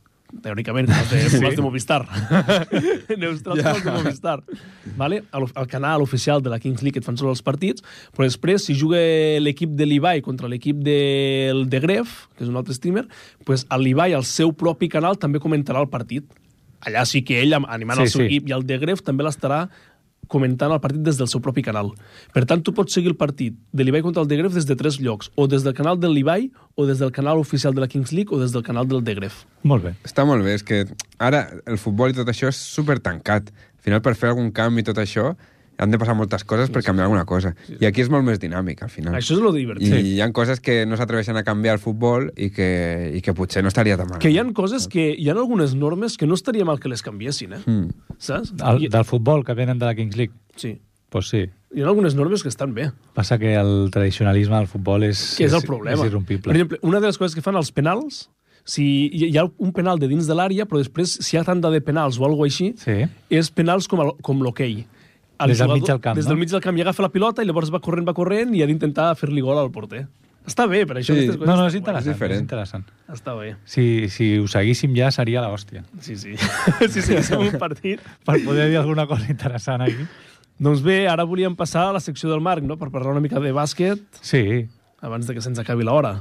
S1: teòricament, com
S2: [laughs]
S1: els de, sí. de Movistar. neutrals com els de Movistar. Vale? El, el canal oficial de la Kings League et fan sobre els partits, però després, si juga l'equip de l'Ibai contra l'equip del de Gref, que és un altre streamer, pues, el l'Ibai, al seu propi canal, també comentarà el partit. Allà sí que ell, animant
S2: Sí,
S1: el seu
S2: sí.
S1: equip, i el de Gref també l'estarà comentant el partit des del seu propi canal. Per tant, tu pots seguir el partit de l'Ibai contra el de Gref des de tres llocs, o des del canal de l'Ibai, o des del canal oficial de la Kings League, o des del canal del de Gref.
S2: Molt bé.
S3: Està molt bé, és que ara el futbol i tot això és super tancat. Al final, per fer algun canvi i tot això, han de passar moltes coses per canviar alguna cosa. I aquí és molt més dinàmic,
S2: Ah.
S3: al final.
S1: Això és lo divertit.
S3: I hi ha coses que no s'atreveixen a canviar al futbol i que, i que potser no estaria tan mal.
S1: Que hi han coses que... Hi han algunes normes que no estaria mal que les canviessin, eh?
S3: Mm.
S1: Saps?
S2: El,
S1: I-
S2: del futbol, que venen de la Kings League.
S1: Sí.
S2: Pues sí.
S1: Hi ha algunes normes que estan bé,
S2: Passa que el tradicionalisme del futbol és...
S1: que és el problema.
S2: És irrompible.
S1: Per exemple, una de les coses que fan els penals, si hi hi ha un penal de dins de l'àrea, però després si hi ha tanda de penals o alguna així,
S2: Sí.
S1: és penals com, el- com l'hoquei. El
S2: Des del mig del camp,
S1: Des
S2: no?
S1: del mig del camp. I agafa la pilota i llavors va corrent, va corrent i ha d'intentar fer-li gol al porter. Està bé, per això.
S2: Sí.
S1: aquestes coses
S2: No, no, és
S1: estan guais.
S2: interessant. És, interessant.
S1: Està bé.
S2: Si, si ho seguíssim ja seria la hòstia.
S1: Sí, sí. [laughs] sí, sí, és un partit.
S2: Per poder dir alguna cosa interessant aquí.
S1: Doncs bé, ara volíem passar a la secció del Marc, no?, per parlar una mica de bàsquet
S2: Sí.
S1: abans de que se'ns acabi l'hora.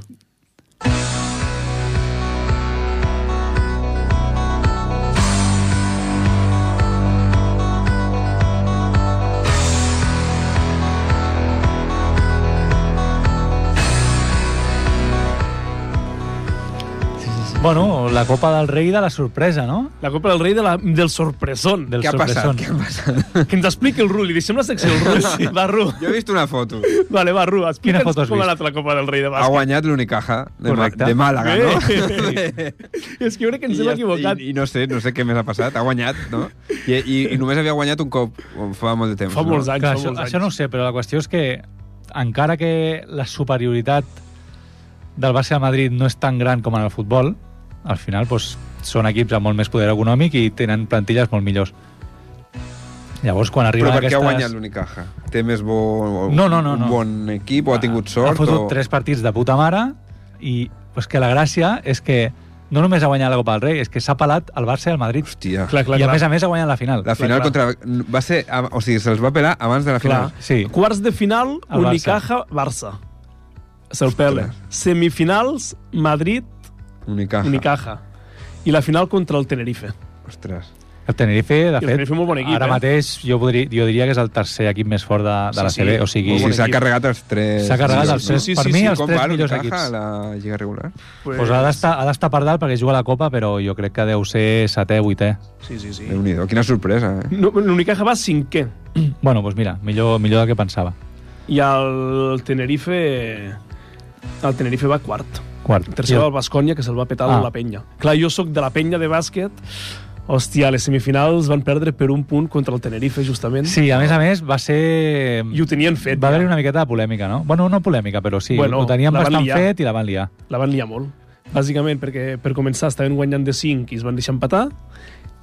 S2: Bueno, la Copa del Rei de la sorpresa, no?
S1: La Copa del Rei de la, del sorpresón.
S2: Del
S3: Què ha
S2: sorpresón.
S3: passat? Què ha passat?
S1: Que ens expliqui el Ruli. Deixem la secció del Ruli. Sí, va, Ru.
S3: Jo he vist una foto.
S1: Vale, va, Ru. Explica'ns
S2: foto has
S1: com ha
S2: vist?
S1: anat la Copa del Rei de
S3: Ha
S1: bàsquet.
S3: guanyat l'Unicaja de, Ma-
S2: Correcte.
S3: de Màlaga, no? [laughs]
S1: Bé. És que jo crec que ens hem
S3: ja-
S1: equivocat.
S3: I, I no sé, no sé què més ha passat. Ha guanyat, no? I, i, i només havia guanyat un cop fa molt de temps.
S1: Fa molts
S3: no?
S1: anys,
S2: Clar,
S1: fa
S2: això,
S1: molts
S2: això no ho
S1: anys.
S2: sé, però la qüestió és que encara que la superioritat del Barça de Madrid no és tan gran com en el futbol, al final doncs, són equips amb molt més poder econòmic i tenen plantilles molt millors. Llavors, quan arriben
S3: Però per què ha guanyat
S2: aquestes...
S3: l'Unicaja? Té més bo,
S2: No, no, no,
S3: un
S2: no.
S3: bon equip o ha tingut
S2: Ha
S3: sort?
S2: fotut
S3: o...
S2: tres partits de puta mare i pues, que la gràcia és que no només ha guanyat la Copa del Rei, és que s'ha pelat el Barça i el Madrid.
S3: Hòstia.
S2: Clar, clar, I a clar. més a més ha guanyat la final.
S3: La final contra... Va ser... O sigui, se'ls va pelar abans de la
S1: Clar.
S3: final.
S2: Sí.
S1: Quarts de final,
S3: El Barça.
S1: Unicaja-Barça. Se'l pele. Semifinals, Madrid-Unicaja.
S3: Unicaja.
S1: I la final contra el Tenerife.
S3: Ostres.
S2: El Tenerife, de
S1: el
S2: fet,
S1: Tenerife molt bon equip,
S2: ara
S1: eh?
S2: mateix jo, podria, jo diria que és el tercer equip més fort de, de la
S1: Sí, sí.
S2: CB. O sigui,
S3: O sigui, s'ha carregat els tres...
S2: S'ha carregat els tres.
S3: Sí, sí,
S2: per
S3: sí,
S2: mi,
S3: sí,
S2: els
S3: com
S2: tres
S3: va
S2: millors equips.
S3: l'Unicaja a la Lliga regular?
S1: eh?
S2: Pues... Pues ha d'estar ha d'estar per dalt perquè juga a la Copa, però jo crec que deu ser setè, vuitè.
S1: Sí, sí, sí.
S3: Déu-n'hi-do, quina sorpresa, eh?
S1: No, L'Unicaja va cinquè.
S2: Bueno, doncs pues mira, millor, millor del que pensava.
S1: I el Tenerife... El Tenerife va quart.
S2: Quart.
S1: Tercer va el Bascònia, que se'l va petar
S2: Ah.
S1: ah. la penya. Clar, jo sóc de la penya de bàsquet. Hòstia, les semifinals van perdre per un punt contra el Tenerife, justament.
S2: Sí, a més a més, va ser...
S1: I ho tenien fet.
S2: Va haver-hi una miqueta de polèmica, no? Bueno, no polèmica, però sí,
S1: Bueno,
S2: ho tenien
S1: la van
S2: bastant
S1: liar.
S2: fet i la van liar.
S1: La van liar molt. Bàsicament perquè, per començar, estaven guanyant de 5 i es van deixar empatar.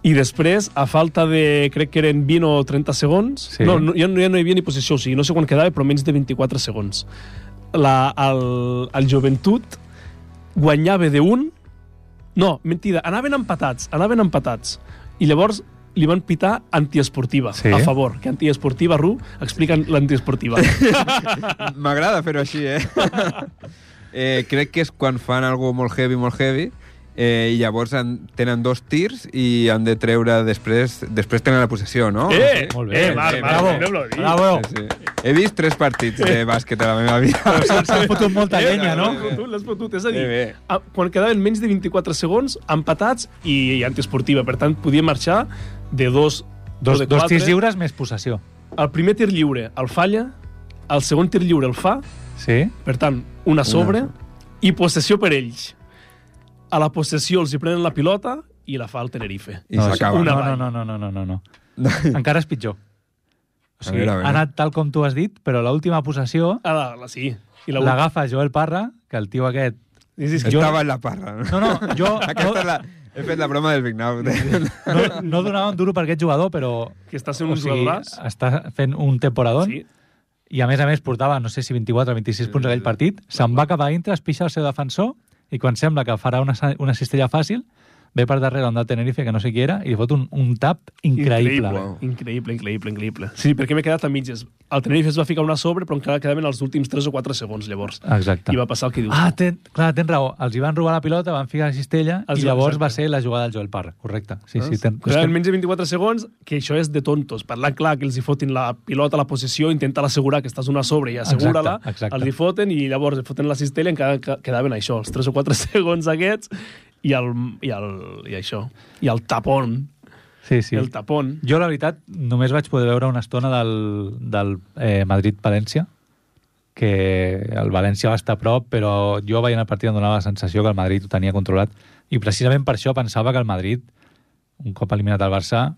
S1: I després, a falta de, crec que eren 20 o 30 segons...
S2: Sí.
S1: No, no, ja, no, ja no hi havia ni possessió, o sigui, no sé quan quedava, però menys de 24 segons. La, el, el joventut guanyava de un... No, mentida, anaven empatats, anaven empatats. I llavors li van pitar antiesportiva,
S2: Sí.
S1: sí. a favor. Que antiesportiva, Ru, expliquen l'antiesportiva.
S3: [laughs] M'agrada fer-ho així, eh? [laughs] eh? Crec que és quan fan algo molt heavy, molt heavy, eh, i llavors en, tenen dos tirs i han de treure després... Després tenen la possessió, no?
S1: Eh,
S2: Molt bé. eh, Marc, Marc,
S1: no me lo diguis.
S2: Bravo!
S3: Sí, sí. He vist tres partits
S2: Eh.
S3: de bàsquet a la meva vida.
S2: S'ha fotut molta llenya, no?
S1: L'has fotut, l'has fotut. És a dir,
S3: Bé, bé.
S1: a- Ah, quan quedaven menys de 24 segons, empatats i, i antiesportiva. Per tant, podia marxar de dos,
S2: Dos,
S1: de
S2: dos
S1: quatre.
S2: tirs lliures més possessió.
S1: El primer tir lliure el falla, el segon tir lliure el fa,
S2: Sí?
S1: per tant, una a sobre, i possessió per ells. A la possessió els hi prenen la pilota i la fa el Tenerife.
S3: [laughs] I s'acaba.
S1: una
S2: No,
S1: avall.
S2: no, no, no, no, no, no. Encara és pitjor. O sigui,
S3: veure, a veure.
S2: ha anat tal com tu has dit, però l'última possessió
S1: A Ah, la, la sí. I la,
S2: l'agafa Joel Parra, que el tio aquest...
S1: Dices que
S2: Jo-
S3: Estava en la parra.
S2: No, no,
S3: [laughs]
S2: jo
S3: Aquesta
S2: no,
S3: és la... He fet la broma del Big
S2: [laughs]
S3: Now.
S2: no, no donava un duro per aquest jugador, però...
S1: que està sent
S2: O
S1: un
S2: sigui,
S1: jugadoràs.
S2: està fent un temporadón
S1: Sí.
S2: i a més a més portava, no sé si 24 o 26 punts aquell partit, se'n va cap a dintre, es pixa el seu defensor i quan sembla que farà una, sa- una cistella fàcil, ve per darrere on del Tenerife, que no sé qui era, i li fot un, un tap increïble.
S1: Increïble, increïble, increïble, increïble. Sí, perquè m'he quedat a mitges. El Tenerife es va ficar una a sobre, però encara quedaven els últims 3 o 4 segons, llavors.
S2: Exacte.
S1: I va passar el que dius.
S2: Ah, ten, clar, tens raó. Els hi van robar la pilota, van ficar la cistella
S1: Els hi-
S2: i
S1: Ah,
S2: llavors
S1: exacte.
S2: va ser la jugada del Joel Parra, correcte. Sí, sí, ten, és
S1: Quedaven
S2: que,
S1: menys de 24 segons, que això és de tontos. Parlar clar, que els hi fotin la pilota, la possessió, intentar assegurar que estàs una a sobre i assegura-la,
S2: Exacte, exacte.
S1: els hi foten i llavors foten la cistella i encara que- quedaven això, els 3 o 4 [laughs] segons aquests i, el, i, el, i això. I el tapón.
S2: sí, sí.
S1: Sí. El tapón.
S2: Jo, la veritat, només vaig poder veure una estona del, del eh, Madrid-València, que el València va estar a prop, però jo veient el partit em donava la sensació que el Madrid ho tenia controlat. I precisament per això pensava que el Madrid, un cop eliminat el Barça,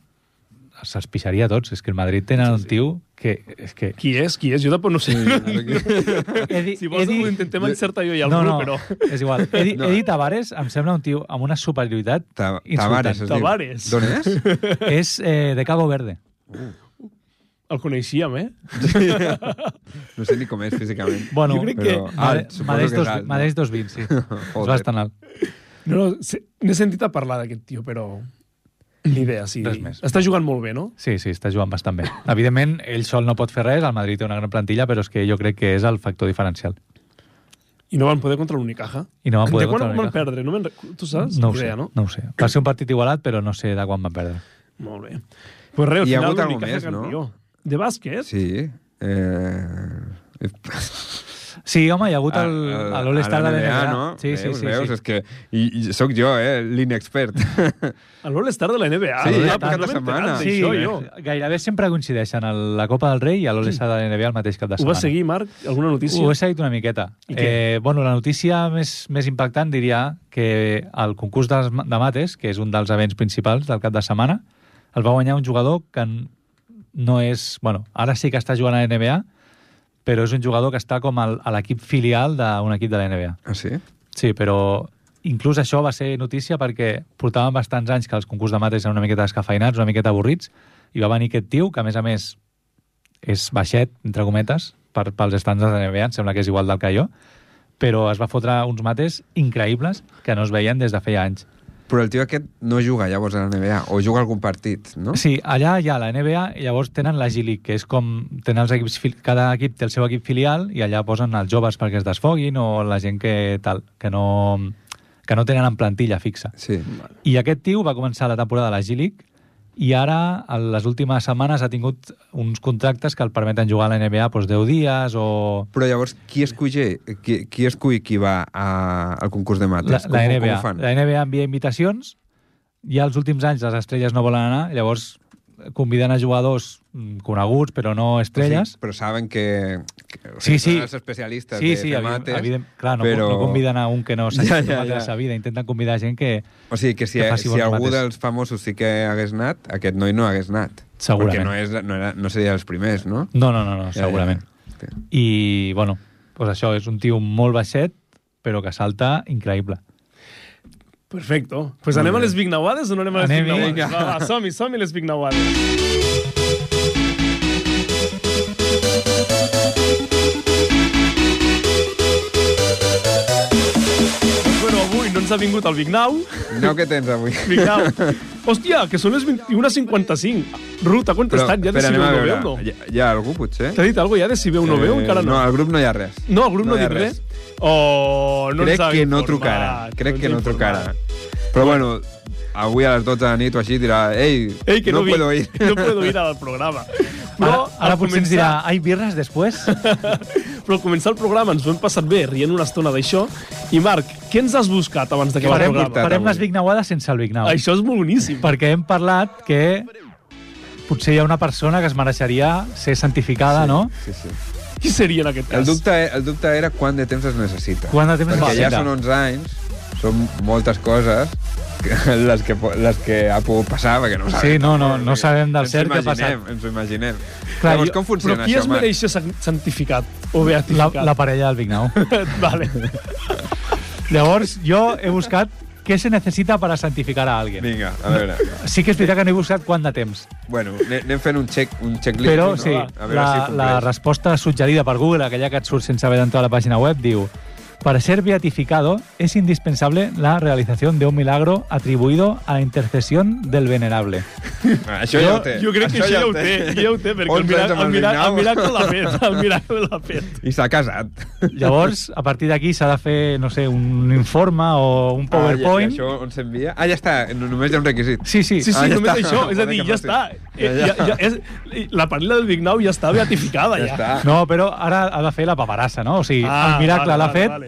S2: se'ls pixaria a tots. És que el Madrid tenen un tio que... És que
S1: Qui és? Qui és? Jo tampoc no sé.
S2: he, di-
S1: [laughs] si vols,
S2: he di-
S1: ho intentem encertar jo i el
S2: no,
S1: Bru,
S2: no,
S1: però...
S2: és igual. Edi,
S3: No.
S2: Edi Tavares em sembla un tio amb una superioritat
S3: Ta-
S2: insultant.
S3: Tavares, es diu.
S1: Tavares.
S3: D'on és?
S2: És eh, de Cabo Verde.
S1: El coneixíem, eh?
S3: No sé ni com és físicament.
S2: Bueno, Ah,
S1: Jo crec que-
S3: però alt, suposo
S2: Madeix
S3: que és alt. no?
S2: 220, sí. és
S3: [laughs] Joder.
S2: bastant alt.
S1: No, no, se- n'he sentit a parlar d'aquest tio, però... Ni idea, sí.
S2: Res més.
S1: Està jugant molt bé, no?
S2: Sí, sí, està jugant bastant bé. Evidentment, ell sol no pot fer res, el Madrid té una gran plantilla, però és que jo crec que és el factor diferencial.
S1: I no van poder contra l'Unicaja.
S2: I no van poder
S1: de quan
S2: contra
S1: van
S2: l'Unicaja.
S1: perdre? No me'n rec- tu saps?
S2: No ho,
S1: Ni
S2: sé,
S1: idea,
S2: no?
S1: no?
S2: no ho sé. Va ser un partit igualat, però no sé de quan van perdre.
S1: Molt bé. Pues res, al
S3: Hi ha
S1: final
S3: hagut algú
S1: l'Unicaja
S3: més, no?
S1: campió. De bàsquet?
S3: Sí. Eh...
S2: Sí, home, hi ha hagut
S3: a-
S2: el-
S3: a-
S2: a l'All-Star
S3: Ah, eh, a la
S2: de l'NBA.
S3: NBA, no?
S2: Sí, sí,
S3: veus,
S2: sí.
S3: Veus?
S2: sí.
S3: És que i, i soc jo, eh?
S2: [laughs]
S3: L'inexpert.
S1: El All-Star de la NBA. Ah,
S3: Sí, ja
S1: no
S3: cada
S1: m'he
S3: setmana.
S1: enterat
S2: Sí,
S3: eh?
S1: d'això, jo.
S2: gairebé sempre coincideixen el- la Copa del Rei i l'All-Star de l'NBA el mateix cap de
S1: Ho
S2: setmana.
S1: vas seguir, Marc? Alguna notícia?
S2: Ho he seguit una miqueta.
S1: I què?
S2: Eh, bueno, la notícia més, més impactant diria que el concurs de, de mates, que és un dels events principals del cap de setmana, el va guanyar un jugador que n- no és... Bueno, ara sí que està jugant a NBA, però és un jugador que està com al, a l'equip filial d'un equip de la NBA.
S3: Ah, sí?
S2: Sí, però inclús això va ser notícia perquè portaven bastants anys que els concurs de mates eren una miqueta descafeinats, una miqueta avorrits, i va venir aquest tio, que a més a més és baixet, entre cometes, per, pels estàndards de la NBA, em sembla que és igual del que jo, però es va fotre uns mates increïbles que no es veien des de feia anys.
S3: Però el tio aquest no juga llavors a la NBA, o juga algun partit, no?
S2: Sí, allà hi ha la NBA, i llavors tenen la G League, que és com tenen els equips, fil- cada equip té el seu equip filial i allà posen els joves perquè es desfoguin o la gent que tal, que no, que no tenen en plantilla fixa.
S3: Sí.
S2: I aquest tio va començar la temporada a la G League i ara, en les últimes setmanes, ha tingut uns contractes que el permeten jugar a la NBA doncs, 10 dies o...
S3: Però llavors, qui escull qui, qui, escull qui va a, al concurs de mates?
S2: La, la,
S3: com,
S2: NBA,
S3: Com ho fan?
S2: la NBA envia invitacions, ja els últims anys les estrelles no volen anar, llavors conviden a jugadors mm, coneguts, però no estrelles.
S3: Sí, però saben que... que o
S2: Sí,
S3: sigui,
S2: sí.
S3: són Els especialistes
S2: sí,
S3: de,
S2: sí,
S3: de
S2: evi-
S3: mates,
S2: evident, clar, no,
S3: però...
S2: no conviden a un que no s'ha
S3: Ja,
S2: fet
S3: ja,
S2: mates de
S3: ja.
S2: sa vida, intenten convidar gent que...
S3: O sigui, que si,
S2: que faci
S3: si
S2: bons
S3: algú
S2: mates.
S3: dels famosos sí que hagués anat, aquest noi no hagués anat.
S2: Segurament.
S3: Perquè no, és, no, era, no seria dels primers, no?
S2: No, no, no, no
S3: Ja,
S2: segurament.
S3: ja.
S2: I, bueno, doncs això, és un tio molt baixet, però que salta increïble.
S1: Perfecto. Pues anem a les Big Nauades o no anem a les
S2: Anem-hi.
S1: Big Nauades?
S2: Vinga.
S1: Va, va, som-hi, som-hi a les Big Nauades. Doncs, Bueno, avui no ens ha vingut el Big Now.
S3: No, què tens avui?
S1: Big
S3: [laughs]
S1: Now. Hòstia, que són les 21.55. Ruta, quant
S3: Però,
S1: estat? Ja de
S3: espera,
S1: si
S3: anem
S1: veu
S3: a
S1: no
S3: veure.
S1: veu, no?
S3: Hi, ha- hi ha algú, potser? Eh,
S1: T'ha dit alguna cosa ja de si veu no veu? Encara no.
S3: No, al grup no hi ha res.
S1: No, el grup no,
S3: No
S1: ha
S3: hi ha
S1: dit res.
S3: res.
S1: Oh, no
S3: Crec
S1: ens ha
S3: que no
S1: informat.
S3: trucarà. Crec
S1: ens
S3: que
S1: ha
S3: no
S1: informat.
S3: trucarà. Però bueno, avui a les 12 de la nit o així dirà Ei,
S1: Ei, que no,
S3: no
S1: vi-
S3: puedo ir.
S1: [laughs] No puedo ir al
S3: [laughs]
S1: programa.
S2: Ara,
S1: al
S2: ara potser ens dirà, ai, birres després?
S1: Però al començar el programa ens ho hem passat bé, rient una estona d'això. I Marc, què ens has buscat abans d'acabar el
S2: farem,
S1: programa?
S2: farem les Big Nauades sense el Big Now.
S1: Això és molt boníssim.
S2: Perquè hem parlat que potser hi ha una persona que es mereixeria ser santificada, sí. no?
S3: Sí, sí.
S1: Qui seria en aquest
S3: El dubte, e- el dubte era quant de temps es necessita.
S2: Quant de temps es
S3: Perquè ja
S2: necessita.
S3: són 11 anys, són moltes coses que, les, que, po- les que ha pogut passar, perquè no ho sabem.
S2: Sí, no, no, no sabem del
S3: Ens
S2: cert
S3: ho
S2: què ha passat.
S3: imaginem, Ens ho imaginem.
S2: Clar,
S3: Llavors,
S2: jo-
S3: com funciona
S1: Però qui
S3: això,
S1: es
S3: Marc?
S1: mereix ser san- santificat o
S2: La,
S1: beatificat? [laughs]
S2: la parella del Big Now.
S1: vale.
S2: Llavors, jo he buscat què se necessita per a santificar a algú.
S3: Vinga, a veure.
S2: Sí que és veritat que no he buscat quant de temps,
S3: Bueno, ane- anem fent un, check, un checklist.
S2: però
S3: no?
S2: sí,
S3: a veure
S2: la,
S3: si
S2: la
S3: compleix.
S2: resposta suggerida per Google, aquella que et surt sense haver d'entrar a la pàgina web, diu Para ser beatificado es indispensable la realización de un milagro atribuido a la intercesión del venerable.
S3: Ah, [laughs] Això ja ho té.
S1: Jo crec que això ja ho té, ja ho té, perquè el,
S3: 11
S1: mira,
S3: anys
S1: el,
S3: amb el
S1: mira,
S3: Vignau.
S1: el miracle l'ha fet,
S3: [laughs]
S1: el miracle l'ha fet.
S3: I s'ha
S1: [laughs]
S3: casat.
S2: Llavors, a partir d'aquí s'ha de fer, no sé, un informe o un
S3: Ah, i- i
S2: PowerPoint.
S3: això on s'envia? Ah, ja està, no- només hi ha un requisit.
S2: Sí, sí.
S1: Sí, sí,
S3: Ah, ja
S1: només
S3: està.
S1: això. És a dir,
S3: Joder, que
S1: ja està.
S3: fàcil.
S1: Eh, Ja, ja, és, la parella del Big Now ja està beatificada, ja.
S3: Ja està.
S2: No, però ara ha de fer la paperassa, no? O sigui,
S1: Ah,
S2: el miracle
S1: vale,
S2: l'ha
S1: vale,
S2: fet,
S1: vale.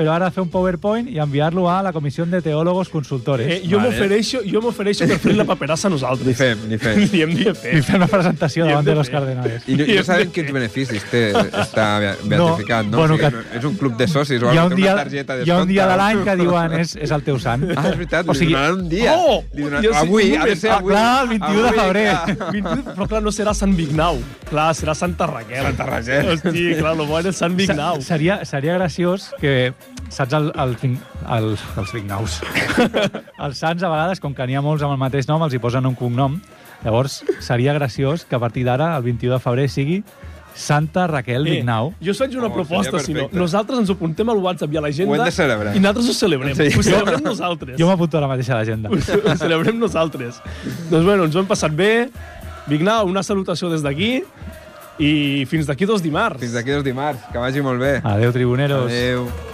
S2: però ara ha de fer un PowerPoint i enviar-lo a la Comissió de Teòlogos Consultores.
S1: Eh, jo
S3: Vale.
S1: m'ofereixo jo m'ofereixo per fer la paperassa a
S3: Ni
S1: nosaltres.
S3: fem, ni fem.
S1: [laughs] Li hem de
S2: I
S1: fer.
S2: fer Ah. una presentació
S1: I hem
S2: davant
S1: de
S2: de los
S1: fer.
S2: cardenales.
S3: I
S1: I
S3: no, i no
S1: és
S3: sabem
S1: de-
S3: quins beneficis té estar be- beatificat, no?
S2: bueno,
S3: o sigui,
S2: que-
S3: no- És un club de socis o
S2: Hi ha
S3: algo,
S2: un
S3: té
S2: dia,
S3: una targeta de
S2: hi ha un dia de
S3: descompte.
S2: l'any que diuen és, és el teu sant.
S3: Ah, és veritat,
S2: O
S3: li
S2: sigui,
S3: donaran un dia.
S1: Oh!
S3: Li donaran-
S1: Jo sí,
S3: avui,
S1: un
S3: ha de ser
S1: moment.
S3: avui.
S2: Ah, clar, el 21 de
S3: Avui,
S2: febrer.
S3: clar.
S1: 22, Ah, però clar, no serà Sant Vignau. Clar, serà Santa Raquel.
S3: Santa Raquel.
S1: Hosti, clar, lo bueno és Sant
S2: se-
S1: Vignau.
S2: seria, seria graciós que, saps, el, el, fin- el, els
S3: [laughs]
S2: vignaus. els sants, a vegades, com que n'hi ha molts amb el mateix nom, els hi posen un cognom. Llavors, seria graciós que a partir d'ara, el 21 de febrer, sigui Santa Raquel
S1: Eh,
S2: Vignau.
S1: jo us faig una
S3: Oh,
S1: proposta,
S3: seria
S1: si no.
S3: perfecte.
S1: Nosaltres ens ho apuntem al WhatsApp i a l'agenda.
S3: Ho hem de celebrar.
S1: I nosaltres ho celebrem.
S3: Sí.
S1: Ho celebrem nosaltres.
S2: Jo m'apunto a la mateixa
S1: [laughs]
S2: agenda.
S1: ho celebrem nosaltres. Doncs bueno, ens ho hem passat bé. Vignau, una salutació des d'aquí i fins d'aquí dos dimarts.
S3: Fins d'aquí dos dimarts. Que vagi molt bé.
S2: Adéu, tribuneros.
S3: Adéu.